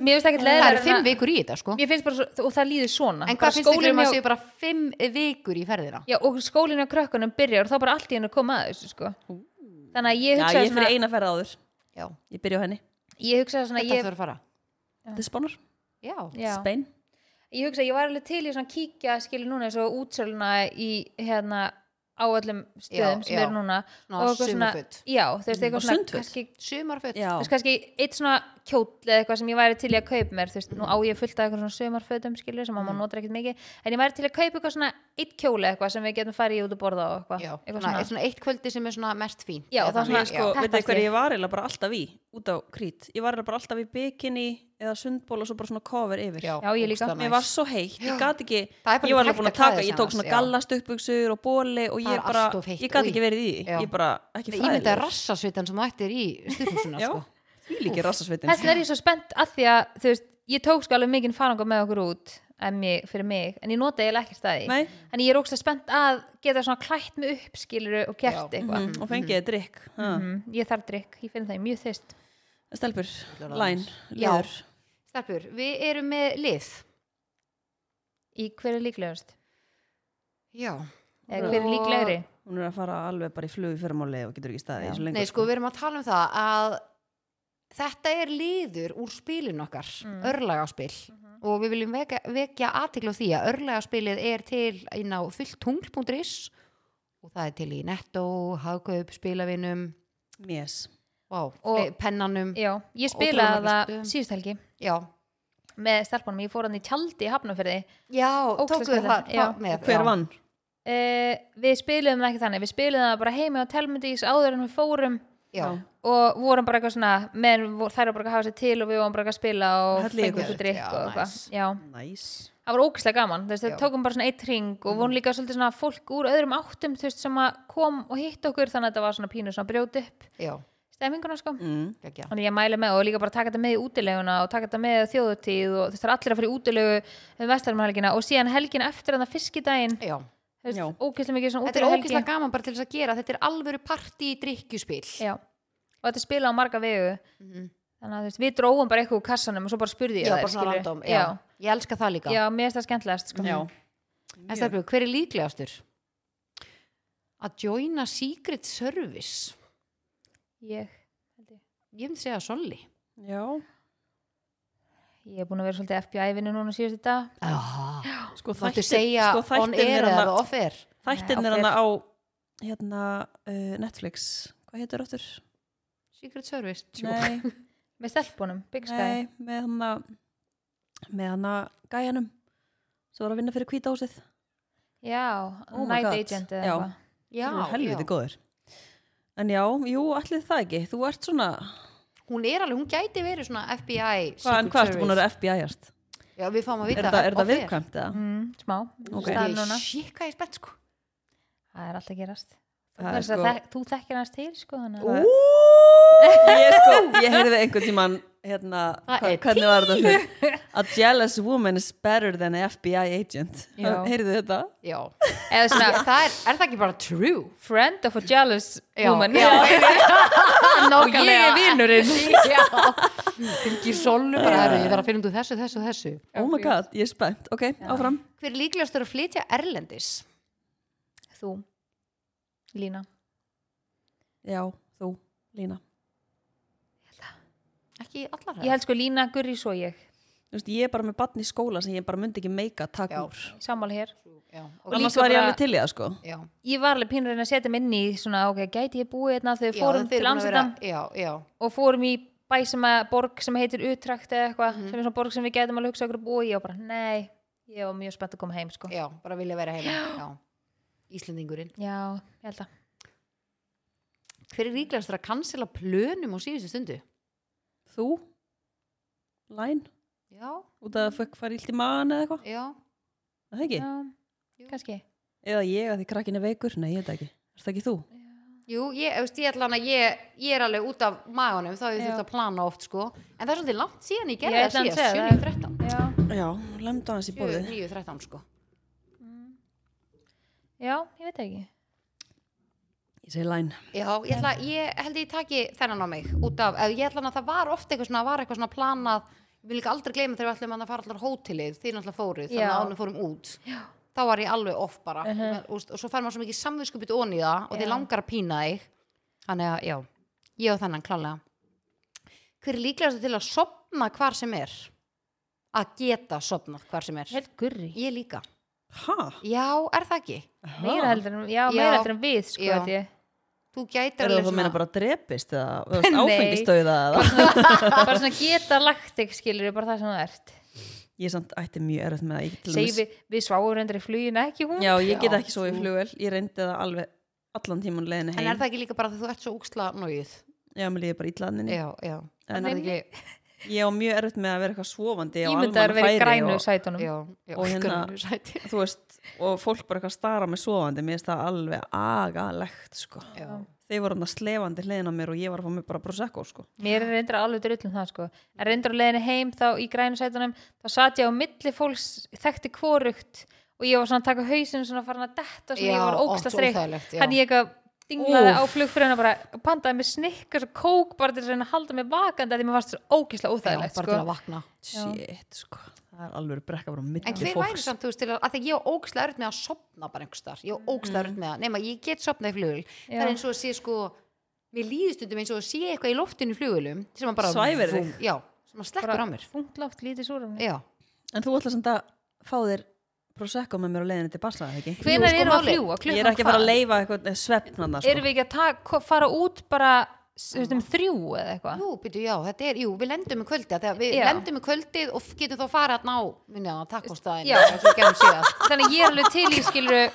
A: mér finnst ekki
C: Það
B: hérna-
C: eru
A: leðilega
C: fimm vikur í þetta sko
A: mér finnst bara svo, og það líður svona Bara
C: En hvað finnst ykkur
A: skólinn
C: um að
A: hjá-
C: séu bara fimm vikur í ferðina?
A: Já, og skólinu og krökkunum byrjar og þá bara allt í hennu koma að þessu, sko. Þannig að ég
B: Já,
A: hugsaði
B: ég
A: svona,
B: fyrir eina ferð áður,
C: Já,
B: ég byrja á henni.
A: ég hugsaði svona,
C: þetta
A: ég,
C: þarf að fara
B: Þetta er Spánar,
C: Já,
A: já,
B: Spein.
A: ég hugsaði, ég var alveg til í svona kíkja, skilur núna, svo útsöluna í, hérna, á öllum stöðum
C: Já,
A: sem
C: já. Mm,
A: eru núna.
C: Ná,
A: og eitthvað
C: sumarföt.
A: Já, þú veist, eitthvað
B: Og
A: svona,
B: sundföt.
A: kannski,
C: Sumarföt
B: Já.
A: þú veist, kannski eitt svona kjóll eða eitthvað sem ég væri til í að kaupa mér, þú veist, nú á ég fullt af eitthvað svona sömarfötum, skilur, sem
C: Mm.
A: maður notar ekkert mikið, en ég væri til að kaupa eitthvað svona eitt kjóli eitthvað sem við getum farið í út að borða og eitthvað.
C: Já,
A: eitthvað
C: svona, svona eitt kvöldi sem er svona mest fín
A: Já, það er svona,
B: Ég
A: já,
B: sko, veit þið
A: peppast
B: hverju
A: ég.
B: ég var eiginlega bara alltaf í, út á krít. Ég var eiginlega bara alltaf í bikini eða sundból og svo bara svona cover yfir.
C: Já,
A: Já, ég líka.
C: ógeðslega
B: Mér
C: næs.
B: var svo heitt, ég gat ekki
C: Það er bara
B: Ég var
C: ekki
B: alveg búin að
C: hægt að klæða
B: taka,
C: sig
B: ég tók
C: annars,
B: svona
C: já.
B: gallastuppbuksur og bóli og
C: Það
B: ég
C: er
B: bara,
C: allt of heitt,
B: ég gat ekki
C: új.
B: verið í því
C: Já.
B: Ég bara, ekki
C: Ég myndi að
B: fræðilegur
C: rassasvitan sem þú ættir í styrfusuna
B: Já,
C: sko.
B: því líki rassasveitin
A: Þess vegna er ég svo spennt að því að þú veist, ég tók sko alveg mikinn faranga með okkur út en mig, fyrir mig, en ég nota eiginlega ekkert staði
B: Nei.
A: en ég er ógst að spennt að geta svona klætt mig upp skiluru og
C: Já.
A: gert eitthvað
C: Mm.
B: Mhm, Og fengið þið drikk ha.
A: mm, ég þarf drikk, ég finn það ég er mjög þyst
B: Stelpur,
C: Ljóðan
B: læn,
C: aðeins.
B: liður
C: Stelpur, við erum með lið
A: í hver er líklegast,
C: Já
A: eða hver er
C: Og-
A: líklegri
B: Hún er að fara alveg bara í flug í fyrramáli og getur ekki staði eins og
C: Nei,
B: lengur
C: sko, við erum að tala um það að þetta er liður úr spilinu okkar, örlagaspil og við viljum vekja, vekja aðtikla því að örlagaspilið er til inn á fulltungl.is og það er til í Netto, Hagkaup, Spilavinum
B: Mjess
C: wow,
A: Og-
C: og pennanum
A: já, ég spilaði
C: Ótrúlega
A: það
C: veistu.
A: síðust helgi
C: Já,
A: með stelpunum, ég fór hann í tjaldi í Hafnarfirði
C: já
A: Ógeðslega
C: tókuðu það,
A: skemmtilegt, já.
C: það með
B: Hver
C: já.
B: vann?
A: uh, við spiluðum það ekki þannig, við spiluðum það bara heimi á Telmundís áður en við fórum
C: Já,
A: og vorum bara eitthvað svona menn vor- þær voru bara að hafa sér til og við vorum bara að spila og
B: Hellið
A: fengum
B: ykkur.
A: okkur drikk
C: Já,
A: og eitthvað
C: nice.
A: já,
B: Næs
A: það var ógeðslega gaman þú veist,
C: Já. Mm.
A: við tókum bara svona eitt ring og vorum líka svolítið svona fólk úr öðrum áttum þú veist, sem að kom og hitt okkur þannig að þetta var svona pínu svona brjóti upp
C: já,
A: stemminguna sko
B: Mm.
C: ekki
A: þannig ég mæli með og líka bara taka þetta með í útileguna og taka þetta með í þjóðutíð og þú veist það er allir að fara í útilegu um vestarumhelgina og síðan helgina eftir þannig fiskidaginn
C: Já,
A: þú veist,
B: Já.
A: ógeðslega mikið svona
C: þetta er
A: útileguhelgi.
C: ógeðslega gaman bara til þess að gera þetta er alvöru partí drikkjuspil
A: Já. og þetta spila á marga vegu
C: Mhm.
A: þannig að þú veist, við dróum bara eitthvað úr kassanum og svo bara spurði ég
C: Já,
A: þær,
C: bara svona
A: skilurðu.
C: random
A: já.
C: já. Ég elska það líka
A: já, mér finnst það skemmtilegast sko.
B: Já
C: En stefnir, hver er líklegastur? Að joina Secret Service
A: ég,
C: Ég myndi segja Solli
B: Já
A: ég er búin að vera svolítið FBI-vinnu núna síðustu dag
C: Þú
B: Sko
C: ætti
B: þættir
C: segja
B: sko,
C: on
B: þættir
C: air
B: er
C: eða
B: hann
C: off air
B: Þættin
A: Nei, á
B: er hann á hérna, uh, Netflix Hvað heitir áttur?
C: Secret Service
B: Nei,
A: með stelpunum, Big Sky
B: nei, með hann að með hana gæjanum sem var að vinna fyrir kvításið
A: Já,
B: Oh my
A: Night
B: God.
A: Agent eða
B: Já.
A: eitthvað
C: já,
B: helviti
C: já.
B: góður en já, jú, allir það ekki þú ert svona,
C: hún er alveg, hún gæti verið svona FBI
B: hvað, en
C: Secret
B: hvað ertu búin að vera
C: Service.
B: FBI-ast?
C: já, við fáum að
B: Er
C: vita
B: þetta er
C: off
B: þetta
C: air.
B: viðkvæmt eða?
A: mm, Smá,
B: Ok.
A: okay. staðan núna
C: Ég- shit, hvað ég er spennt sko
A: Það er alltaf að gerast
B: Það er
A: Þú, sko...
B: sko-
A: þek þú þekkir hans til sko þannig að-
B: Ég sko, ég heyrði einhvern tíman hérna,
C: Það
B: hva-
C: er
B: hvernig var þetta fyrir A jealous woman is better than an FBI agent
A: Já.
B: Heyrðu þetta?
C: já,
A: Eða
C: það
A: svona
C: er, er það ekki bara true
A: Friend of a jealous
C: já,
A: woman
C: já,
A: Og ég er vinurinn
C: já, fylgir sólu bara herru, ég þarf að finna út úr þessu, þessu, þessu
B: Oh my god, ég er spennt, ok, áfram
C: hver er líklegast er að flytja erlendis
A: Þú, Lína
B: Já, þú, Lína
C: ekki allar
A: Ég held sko Lína, Gurri, svo ég
B: Þú veist, ég er bara með batn í skóla sem ég bara myndi ekki meika að taka
C: Já.
B: úr
A: Sammála hér
C: já, og,
B: Annars
A: líka
B: var ég
A: bara-
B: alveg til í það sko
C: já,
A: Ég var alveg pínur að setja mig inn í svona, ok, gæti ég búið hérna þegar við
C: já,
A: fórum
C: þeir
A: til
C: eru búin að vera-
A: Amsterdam
C: já, já,
A: og fórum í bæ sem að borg sem heitir Utrecht eða eitthvað, sem er svona borg sem við gætum að hugsa okkur að búa í og bara, nei, ég var mjög spennt að koma heim, sko.
C: já, bara vilja vera heima já. Íslendingurinn
A: Já, ég held að.
C: hver er líklegast að cancela plönum á síðustu stundu
B: Þú, Læn,
C: já,
B: út af að fæk fara illt í maðan eða eitthvað
C: já,
B: Er Það ekki?
A: Já,
C: Jú.
A: kannski.
B: Eða ég að því krakkin er veikur? Nei, ég veit það ekki Er það ekki þú?
C: jú, ég, þú veist, ég, ætla hana, ég, ég er alveg út af magunum þá hef ég
A: Já.
C: þurft að plana oft sko en það er svolítið langt síðan ég gerði
A: Ég
C: það
A: ætla að
C: síðast
A: segja
C: 7,
A: það.
C: 9, 13
A: Já,
B: Já, lemdu hans í
C: 7,
B: bóðið
C: 9, 13 sko
A: já ég veit það ekki.
B: Ég segi Læn
C: Já, ég, ætla, ég held ég taki þennan á mig út af, eða ég ætla að það var oft eitthvað svona, var eitthvað svona planað ég vil líka aldrei gleyma þegar við ætlum að fara allar á hótelið því náttúrulega fóruð, þannig
A: Já.
C: að ánum fórum út Já. þá var ég alveg off bara uh
A: Mhm.
C: og, og svo fær maður svo mikið samvinskupið onni í það og
A: Já.
C: þið langar að pína þig þannig að, já, ég og þennan klálega hver er líklegast til að sopna hvar sem er að geta sopnað hvar sem er
A: Helt Gurri.
C: ég líka,
B: Ha?
C: já, er það ekki
A: Meira heldur en, já,
C: Já.
A: meira heldur en við, sko,
C: Já.
A: veit ég.
C: þú gætir
B: Er
C: alveg
B: það þú meina
C: svona-
B: bara drepist eða
A: Nei.
B: áfengistauða eða?
A: bara svona geta lagt þig, skilur við, bara það sem það ert.
B: Ég er samt ætti mjög erfitt með það ég get til
A: Segir
B: dæmis-
A: við, við sváum reyndar í flugina, ekki hún?
B: Já, ég get
C: Já,
B: ekki svo í
C: þú-
B: flugvel Ég reyndi það alveg allan tíman leiðinu
C: en er
B: heim
C: það ekki líka bara þegar þú ert svo úksla nógið
B: Já, mér líði bara ítlaðninni
C: já, já,
B: En-
C: en er það ekki
B: Ég á mjög erfitt með að vera eitthvað svofandi á
A: Ímyndaður verið í
B: almannafæri
A: grænu
B: og,
A: sætunum.
C: já, já,
B: Og hérna-
C: grænu sæti.
B: Þú veist, og fólk bara eitthvað stara með svofandi Mér finnst það alveg agalegt sko.
C: Já.
B: Þeir voru hann að slefandi hliðin á mér og ég var að fá mér bara prosecco sko.
A: Mér er reyndar alveg drullum það sko. En reyndar á leiðinni heim þá í grænu sætunum þá sat ég á milli fólks þekkti kvorugt og ég var svona að taka hausinn svona farin að detta svona
C: Já,
A: ég var
C: ó,
A: óksla
C: svo
A: streikt.
C: óþægilegt, já.
A: Þannig ég eitthvað dinglaði á
B: Úff.
A: flugfröðuna bara og pantaði mér snikkar og kók bara til þess að reyna að halda mér vakandi að því mér varst svo ókislega
C: Já, bara
A: óþægilegt
C: til að
A: sko.
C: vakna
B: Shit, sko. það er alveg brekka bara á
C: en
B: milli
C: hver væri
B: fólks
C: samt, þú veist, til að, að því ég á ógstlega örð með að sopna bara einhvers þar, ég á ógstlega örð með að nema, ég get sopnað í flugul það
A: Já.
C: er eins og að sé sko, mér líðist undum eins og að sé eitthvað í loftinu í flugulum sem að bara,
B: Svæfir þig.
C: Vúm, já, sem að slekkur á mér
A: þunglátt lítið súrum.
C: já,
B: En þú ætlar samt að fá þér prosecco með mér á leiðinu til Barsa, eða ekki?
A: Hvenær erum
C: Jú, sko,
A: við að
C: málið-
A: fljúa? Klukkan
B: Ég er ekki að fara að
A: hvað?
B: leifa eitthvað svefnanna, sko.
A: Erum við ekki að taka- fara út bara s- þú veist, um þrjú eða eitthvað?
C: jú, byrju, já, þetta er jú, við lendum í kvöldið, þegar við
A: Já.
C: lendum í kvöldið og getum þá fara að ná, minna, takkostæðin
A: Já. Þannig að ég er alveg til í skiluru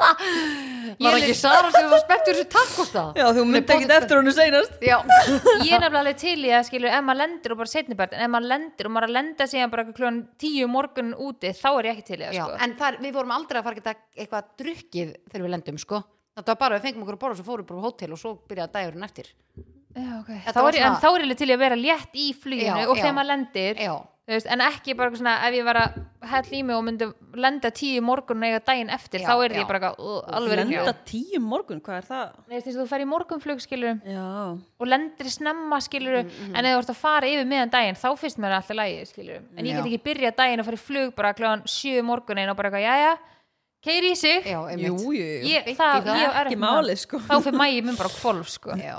A: Ég
C: var
A: er
C: ekki
A: alveg-
C: Sara sem var spettur þessu takkostæð
B: Já, þú myndi ekkit eftir Sko. honu seinast.
C: já,
A: ég er nefnilega alveg til í að skilur ef maður lendir og bara setnibært en ef maður lendir og maður er að lenda síðan bara kljóðan tíu um morgun úti þá er ég ekki til í það
C: Já,
A: sko.
C: en þar, við vorum aldrei að fara að geta eitthvað drukkið þegar við lendum sko þetta var bara að við fengum okkur að borða og svo fórum við bara á hótel og svo byrjaði dagurinn eftir
A: Já, okay.
C: Þetta
A: þá
C: var
A: er, ég- en
C: svona-
A: þá er ég alveg til í að vera létt í fluginu
C: Já,
A: og
C: já.
A: þegar maður lendir
C: já,
A: þú veist, en ekki bara eitthvað svona ef ég var að hella í mig og myndi lenda tíu morgun og eiga daginn eftir
C: Já,
A: þá er
C: já.
A: ég bara eitthvað, "Ugh, alveg ekki
B: Lenda tíu um morgun, hvað er það?
A: Nei, þess að þú fer í morgunflug skilur
B: Já.
A: og lendir snemma skilur
C: Mm, mhm.
A: en ef þú ert að fara yfir meðan daginn þá finnst mér alltaf lægi skilur en ég
C: Já.
A: get ekki byrja daginn og fara í flug bara kljóðan sjö morgunin og bara eitthvað jæja, keiri í sig
C: já,
B: Jú,
C: einmitt
B: jú, jú.
A: ég,
C: Beint í
A: það,
C: það,
A: ég á erfitt
B: Ekki
A: með það.
B: málið, sko.
A: þá fyrir mægi minn bara kvolf sko.
C: já.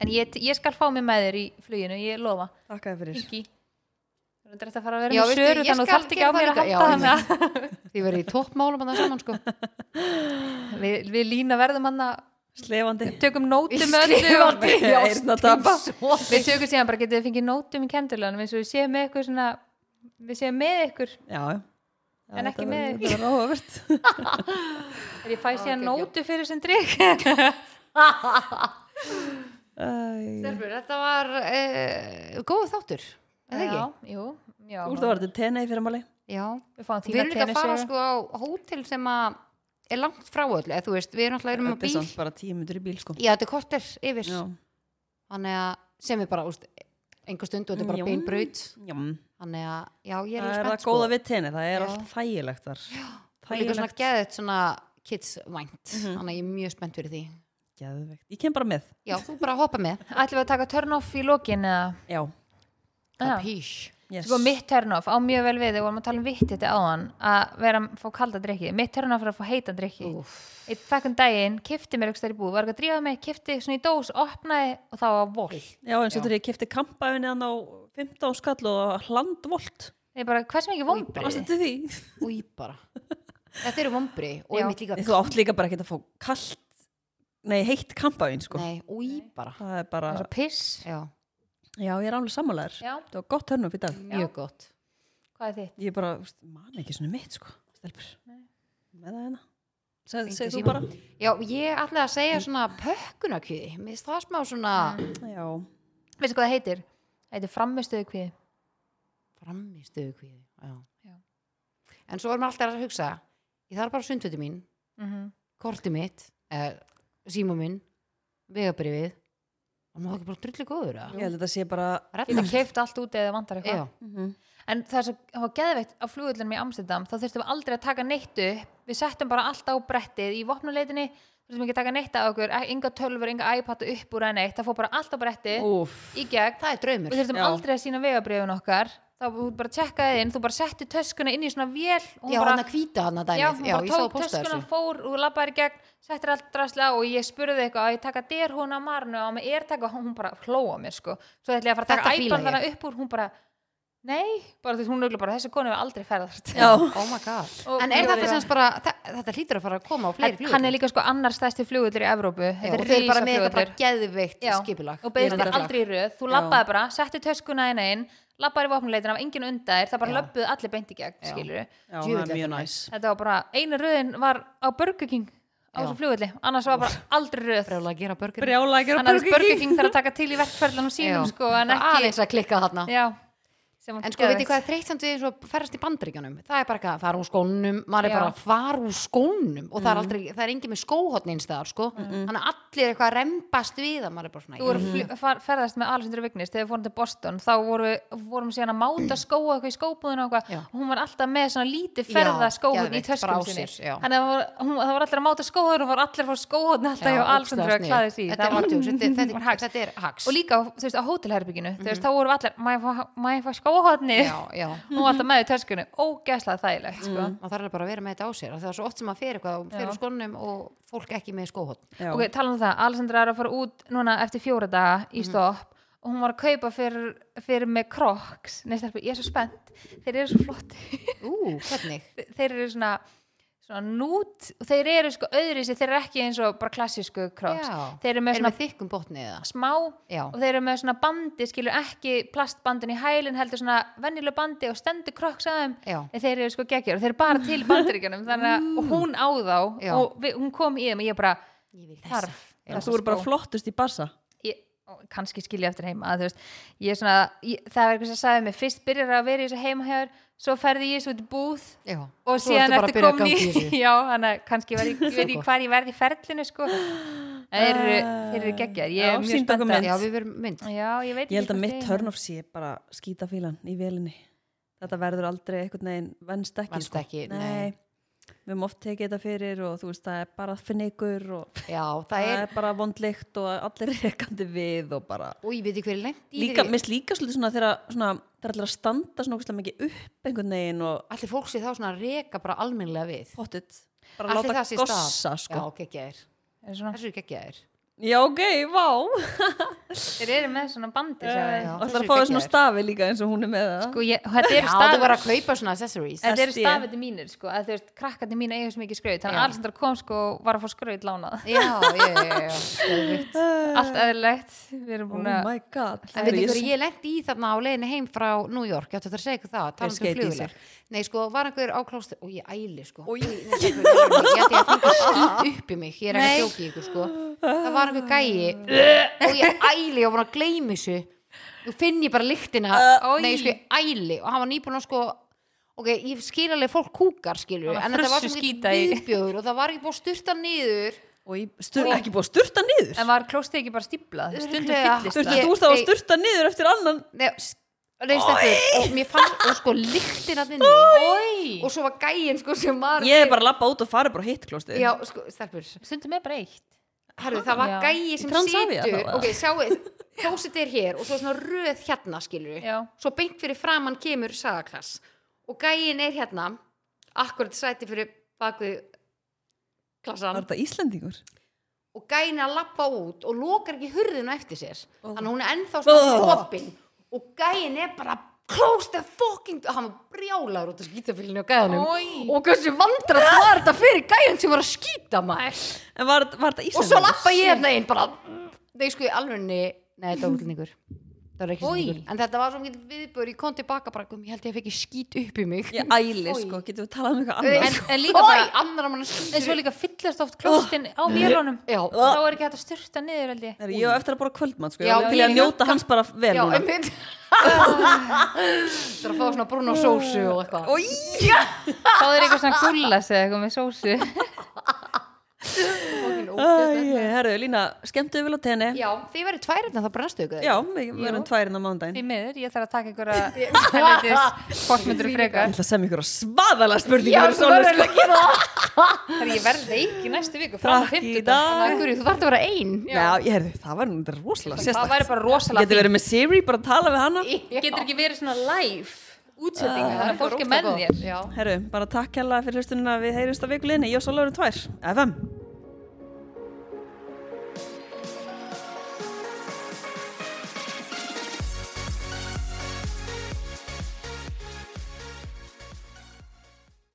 A: en ég, ég skal fá mig með þér í fluginu ég lofa,
B: Takk að fyrir.
A: ekki þú er þetta að fara að vera
C: Já,
A: með
C: veistu,
A: söru
C: ég
A: þannig þú
C: skal
A: þarft ekki
C: gera
A: á mér að
C: það líka.
A: halda
C: Já,
A: hann að
C: því verið í toppmálum að það saman sko
A: við, við lína verðum hann að
B: Slefandi.
A: tökum nótum með öllu
B: Slefandi.
A: og-
B: Eirna tapa.
A: við tökum síðan bara getið þið fengið nótum í kendurlanum eins og við séum með eitthvað svona við séum með ykkur
B: já, já. Já,
A: En
B: þetta
A: ekki
B: verður-
A: með-
B: þetta verður áhugavert.
A: er ég fæ síðan
C: geggjað.
A: nótu fyrir sem drikk
B: Æ.
C: Stelbur, þetta var uh, góð þáttur eða
A: já,
C: ekki?
A: jú, já,
B: úr það var þetta tenei fyrir máli
C: Já,
A: við fáum
C: við
A: þína
C: erum líka að
A: tennis
C: fara sko á hótel sem að er langt frá öllu, eða þú veist, við erum alltaf erum á
B: þetta er
C: bíl,
B: samt bara tíu myndur í bíl sko
C: já þetta er korter yfir
B: já,
C: þannig að sem er bara úst, einhver stund og þetta er bara
B: Mm, Já.
C: beinbraut
B: já.
C: þannig að, já ég er
B: það er
C: alveg spennt
B: það
C: sko
B: góða við tenei, það er
C: Já.
B: allt þægilegt þar
C: og líka svona
B: þægilegt,
C: geðið svona kids vænt
B: Mhm.
C: þannig að ég er mjög spennt fyrir því
B: geðvegt, ég kem bara með
C: já, þú bara hoppa með,
A: ætlum við að taka turn off í lokin eða
B: já,
A: Já.
C: písh
B: yes.
A: Sko mitt törnof á mjög vel við þegar vorum að tala um vitt þetta áðan að vera að fá kalda drikki mitt törnof er að fá heita drikki eitt fekkum daginn, kifti mér ekki stær í búð var ekki að drífa mig, kifti svona í dós, opnaði og það var vol
B: já, eins og
C: Já.
B: þegar ég kefti kampaðin eðan á 15 skall og hlandvolt
A: ég bara, hversu mikið
B: varstu
A: vombrið
B: til því?
C: og ég bara þetta eru vombri og
A: Já.
C: ég mitt líka
B: þú átt líka bara ekki að fá kallt nei, heitt kampaðin sko
C: nei, og ég bara
B: það er bara,
A: það er svo piss
C: já,
B: já, ég er alveg sammálaður
A: Já.
B: það var gott hörnum fyrir dag
C: mjög gott
A: hvað er þitt?
B: ég bara, þú veist, man ekki svona mitt sko stelpur, með það hérna Seg-
C: Hringdu
B: segir þú
C: í
B: bara
C: símann. já, ég ætla að segja svona pökkunarkjöði mér finnst það smá svona
B: já,
A: veistu hvað það heitir? það heitir framistuðu kvíði
C: framistuðu kvíði já.
A: Já.
C: en svo erum alltaf að hugsa ég þarf bara sundvötu mín
A: Mhm.
C: kortið mitt, eh, síma minn vegabrifið og maður ekki bara drullu góður eða?
B: ég held að þetta sé bara
C: Redda
A: geta keift allt út eða vantar eitthvað
C: Já,
A: en það er svo, það var geðveikt á flugullunum í Amsterdam þá þurftum við aldrei að taka neittu við settum bara allt á brettið í vopnuleitinni þurftum ekki að taka neitt af okkur e- enga tölfur, enga iPad upp úr enn eitt það fór bara allt á brettið
B: Úf,
A: í gegn
C: það er draumur
A: við þurftum
B: Já.
A: aldrei að sína vegabriðun okkar þá þú bara tjekkaði inn, þú bara setti töskuna inn í svona vél og hún
C: Já, hann
A: bara,
C: að hvíta hann að dæmið
A: já, hún
C: já
A: bara
C: ég sá að
A: tók
C: posta
A: töskuna,
C: þessu
A: fór og labbaði í gegn settir allt drasla og ég spurði eitthvað að ég taka der hún að marnu og með er taka og hún bara hlóa mér sko svo ætla ég að fara að
C: Þetta
A: taka
C: fíla ég.
A: æbandana upp úr hún bara, nei, bara því hún auðvitað bara þessi konu er aldrei ferðast
B: Já.
C: Oh
A: Og
C: my god En
A: flugvél.
C: er þetta sem sagt bara, þa- þetta hlýtur að fara að koma á fleiri
A: En
C: flugur
A: hann er líka sko annar stæsti flugullur í Evrópu
C: já,
A: þetta
C: Og
A: er
C: þeir eru bara með þetta bara
A: rísaflugullur
C: geðveikt
A: Já,
C: skipulag
A: og beðist
C: Ég er
A: þér aldrei í röð þú
B: Já.
A: labbaði bara, setti töskuna einn einn labbaði í vopnuleitin af enginn undan þér það bara
C: Já.
A: löbbuðu allir beint í gegn,
C: Já.
A: skilur
B: já,
C: Djöfull,
B: það er
C: þetta er
B: mjög
C: næs.
B: næs
A: þetta var bara, einu röðin var á Burger King á
C: Já.
A: þessu flugulli, annars var bara aldrei röð
C: Brjála að gera börgur
B: Brjála ekki
A: annars Burger King þarf að taka til í verkferðlanum sínum sko, en ekki
C: Aðeins að klikka þarna
A: já, sem var
C: En sko, veitir
A: geðveikt.
C: hvað er þreytt samt við eins og ferðast í bandaríkjunum? Það er bara eitthvað, fara úr skónum, maður er
A: Já. Mm.
C: bara fara úr skónum og það er aldrei, það er engin með skóhotn eins staðar, sko. Þannig að allir eru eitthvað að rembast við að maður er bara svona,
A: Þú voru
C: Mhm.
A: fl- far- ferðast með Alessandur Vignis þegar við fórum til Boston þá voru, vorum síðan að máta skóa eitthvað í skóbúðinu og
C: Já.
A: eitthvað og hún var alltaf með svona lítið
C: Já,
A: ferða skóhund í
C: geðveikt,
A: töskum
C: bara á
A: sinni
C: sér, já.
A: þannig að það var, hún, það var allir að máta skóhund og var allir fór skóhund alltaf hjá Alessandur að klæði því
C: Þetta er
A: var,
C: athugs, þetta er- þetta
A: var
C: er-
A: hacks.
C: þetta er hags.
A: og líka þú veist, á hótelherbygginu þú veist, þá voru allir, má ég fá- má ég fá skóhundni
C: Mhm. Já, Mhm. já.
A: hún var alltaf með í töskunni, ógeðslað þægilegt sko.
C: Maður þarf bara að vera með þetta á sér. Það er svo oft sem maður fer eitthvað, og fer úr skónum og fólk ekki með skóhotn.
A: ok, tala um það, Alessandra er að fara út núna eftir fjóra daga
C: Mhm.
A: í stopp og hún var að kaupa fyrir, fyrir með Crocs Nei, stelpur, ég er svo spennt þeir eru svo flotti
C: Ú, hvernig?
A: þeir eru svona, svona nút og þeir eru sko öðrisi, þeir eru ekki eins og bara klassísku Crocs
C: Já.
A: þeir eru með
C: Er
A: svona
C: með þykkum botni eða?
A: smá
C: Já.
A: og þeir eru með svona bandi, skilur ekki plastbandin í hælinn, heldur svona venjuleg bandi og stendur Crocs að þeim
C: Já.
A: En þeir eru sko geggjur og þeir eru bara til bandaríkjunum þannig að og hún á þá
C: Já.
A: og við, hún kom í þeim og ég bara
C: Ég vil þessa.
A: þarf
B: Þú eru
C: Sko.
B: bara flottust í bassa
A: ég, og kannski skilja eftir heima að, þú veist, ég er svona, ég, það var eitthvað sem sagði mig fyrst byrjar að vera í þessu heimahjör svo ferði ég svo út í búð
C: Já.
A: og
C: Svo
A: síðan
C: ertu bara að
A: ertu
C: byrja að
A: komin
C: ganga í
A: í
C: þessu.
A: já, þannig að kannski var, ég, ég veit ég hvað ég verði í ferlinu sko. En þeir eru, þeir eru geggjar ég
B: Já,
A: er mjög
B: sýndu okkur
A: spennt að-
B: mynd.
C: Ah. Já, við verum mynd.
A: já, ég veit
B: Ég held að
A: hvort
B: mitt turn-off sé bara skítafílan í velinni Þetta verður aldrei einhvern veginn vennst ekki sko.
C: Venst ekki, nei.
B: nei. Við höfum oft tekið þetta fyrir og þú veist það er bara finnigur og
C: Já, það
B: það
C: er,
B: er bara vondleikt og allir rekandi við og bara
C: og ég veit ekki hverju lengt í
B: Líka,
C: því.
B: mér finnst líka svolítið svona þegar svona, þegar allir að standa svona ógeðslega mikið upp einhvern veginn og
C: Allir fólk sé þá svona að reka bara almennlega við.
B: pottit bara
C: Allir
B: láta
C: það sé
B: gossa
C: stað.
B: sko.
C: Já, geggjaðir.
A: Er svona-
C: Þessu er geggjaðir.
B: Já, ok, vá.
A: Þeir eru með svona bandi sagði
C: Eh, já.
A: ég.
B: Það er að fá
C: þessi er
B: þér svona
C: geggjaður.
B: stafi líka eins og hún er með það.
A: Sko, ég, þetta
C: Já,
A: eru
C: þú var
A: stafið
C: að kaupa svona accessories
A: Þetta eru
B: SD.
A: stafið mínir, sko, að þú veist, krakkandi mín eiga svo mikið skraut, þannig
C: Já.
A: að Alessandra kom, sko, og var að fá skraut lánað.
C: Já, já, já, já, já stöðugt.
A: Allt eðlilegt, við erum
B: Oh
A: búin að...
B: my god.
C: En veit ykkur, ég lendi í þarna á leiðinu heim frá New York, ég ætti þetta að segja ykkur það,
B: Hver
C: tala um
B: skeyti í
C: flugvilar. Nei, sko, var einhver á klósti, og ég æli, sko.
B: Oj.
C: Nei, stelpur, ég ætla ekki- ég ætti að fengi skýt upp í mig, ég er ekki að
A: Nei.
C: sjóki ykkur, sko. Það var einhver gæi og ég æli, ég var búin að gleymi þessu. Nú finn ég bara lyktina,
A: oj.
C: nei, sko, ég æli, og hann var nýbúin að, sko, ok, ég skil alveg fólk kúkar, skilur,
A: Hann var
C: en þetta var
A: frussu
C: svo
A: skýta í.
C: mikið viðbjóður og það var ekki búin að sturta niður.
B: Og ég stur, ekki búið að sturta niður.
A: En var klóstið ekki bara stíplað? Stundum
C: Örugglega.
A: fyllist
B: Sturta,
A: það.
C: Ég-
B: þú ert að
C: nei.
B: sturta niður eftir annan.
C: Nei, s- nei, stelpur, og mér fannst, og sko, lyktina þinni.
A: Oi!
C: og svo var gæinn sko sem var
B: Ég er bara að lappa út og fara bara á hitt klostið.
C: já, sko, stelpur
A: Stundum er bara eitt.
C: Herru, það var
A: Já.
C: gæi sem
B: Í Transavia
C: situr
B: þá,
C: ok, sjáu, klósit er hér og svo svona röð hérna skilur við
A: Já.
C: svo beint fyrir framann kemur sagaklass og gæinn er hérna akkurat sæti fyrir bakvið
B: Var
C: klassan
B: þetta Íslendingur?
C: og gæinn er að lappa út og lokar ekki hurðinu eftir sér
A: Oh.
B: Ó.
C: þannig að hún er ennþá svona
B: Ó.
C: opinn og gæinn er bara close the fucking hann var brjálaður út af skýtafylginu á gæðanum
A: Oi!
C: og hversu vandrat var þetta fyrir gæinn sem var að skýta maður
B: En var, var þetta
C: og svo
B: Íslendingur?
C: lappa ég hérna inn bara nei sko í alvegni nei þetta var útlendingur það var ekki
A: Oj.
C: útlendingur en þetta var svo mikið viðbör ég kom tilbaka bara "Gum, ég held ég fekk ekki skít upp í mig
B: Ég æli,
C: Oj.
B: sko. Getum við talað um eitthvað
A: En,
B: annað?
A: en líka
C: Ói,
A: bara,
C: annar mann
A: en svo líka fyllast oft klóstin á vélunum.
C: já,
A: Þá er ekki hægt að styrta niður, held ég.
B: Herri, Ég á eftir að bara kvöldmann, sko.
C: Já,
B: Ég var til
C: ég
B: að njóta hans bara vel
C: já,
B: núna.
C: einmitt það er að fá svona brún og sósu og eitthvað
B: Oj.
A: Þá er eitthvað svona gullas eða eitthvað með sósu.
C: Fucking ógeðslegt.
B: Æ, Herru, Lína, skemmtu vel á tenni.
C: já, þið verður tvær hérna það brennastu ykkur
B: Já, við við erum tværinn á mánudaginn.
A: Því miður, ég þarf að taka einhverja helvitis fórsmyndur
B: Ég
A: frekar.
B: ætla að semja ykkur að svaðala spurningu
C: já,
B: fyrir
C: þú
B: Sólu,
C: verður
B: sko.
C: að gera það
A: Þegar ég verð veik í næstu viku, frá
B: Takk í
A: fymtudag.
B: dag.
C: Þannig að, Guri, þú þarf að vera ein
B: Já, ég herðu, það var nú rosalega
A: Það
B: sérstakt.
A: væri bara rosalega
B: Getur verið með Siri, bara að tala við hana.
A: fínt. Getur ekki verið svona live útsending,
B: Ah.
A: þannig að fólk er með þér.
C: já
B: Herru, bara takk hérlega fyrir hlustunina við heyrjumst að vikuleginni. Ég og Sóla erum tvær. FM.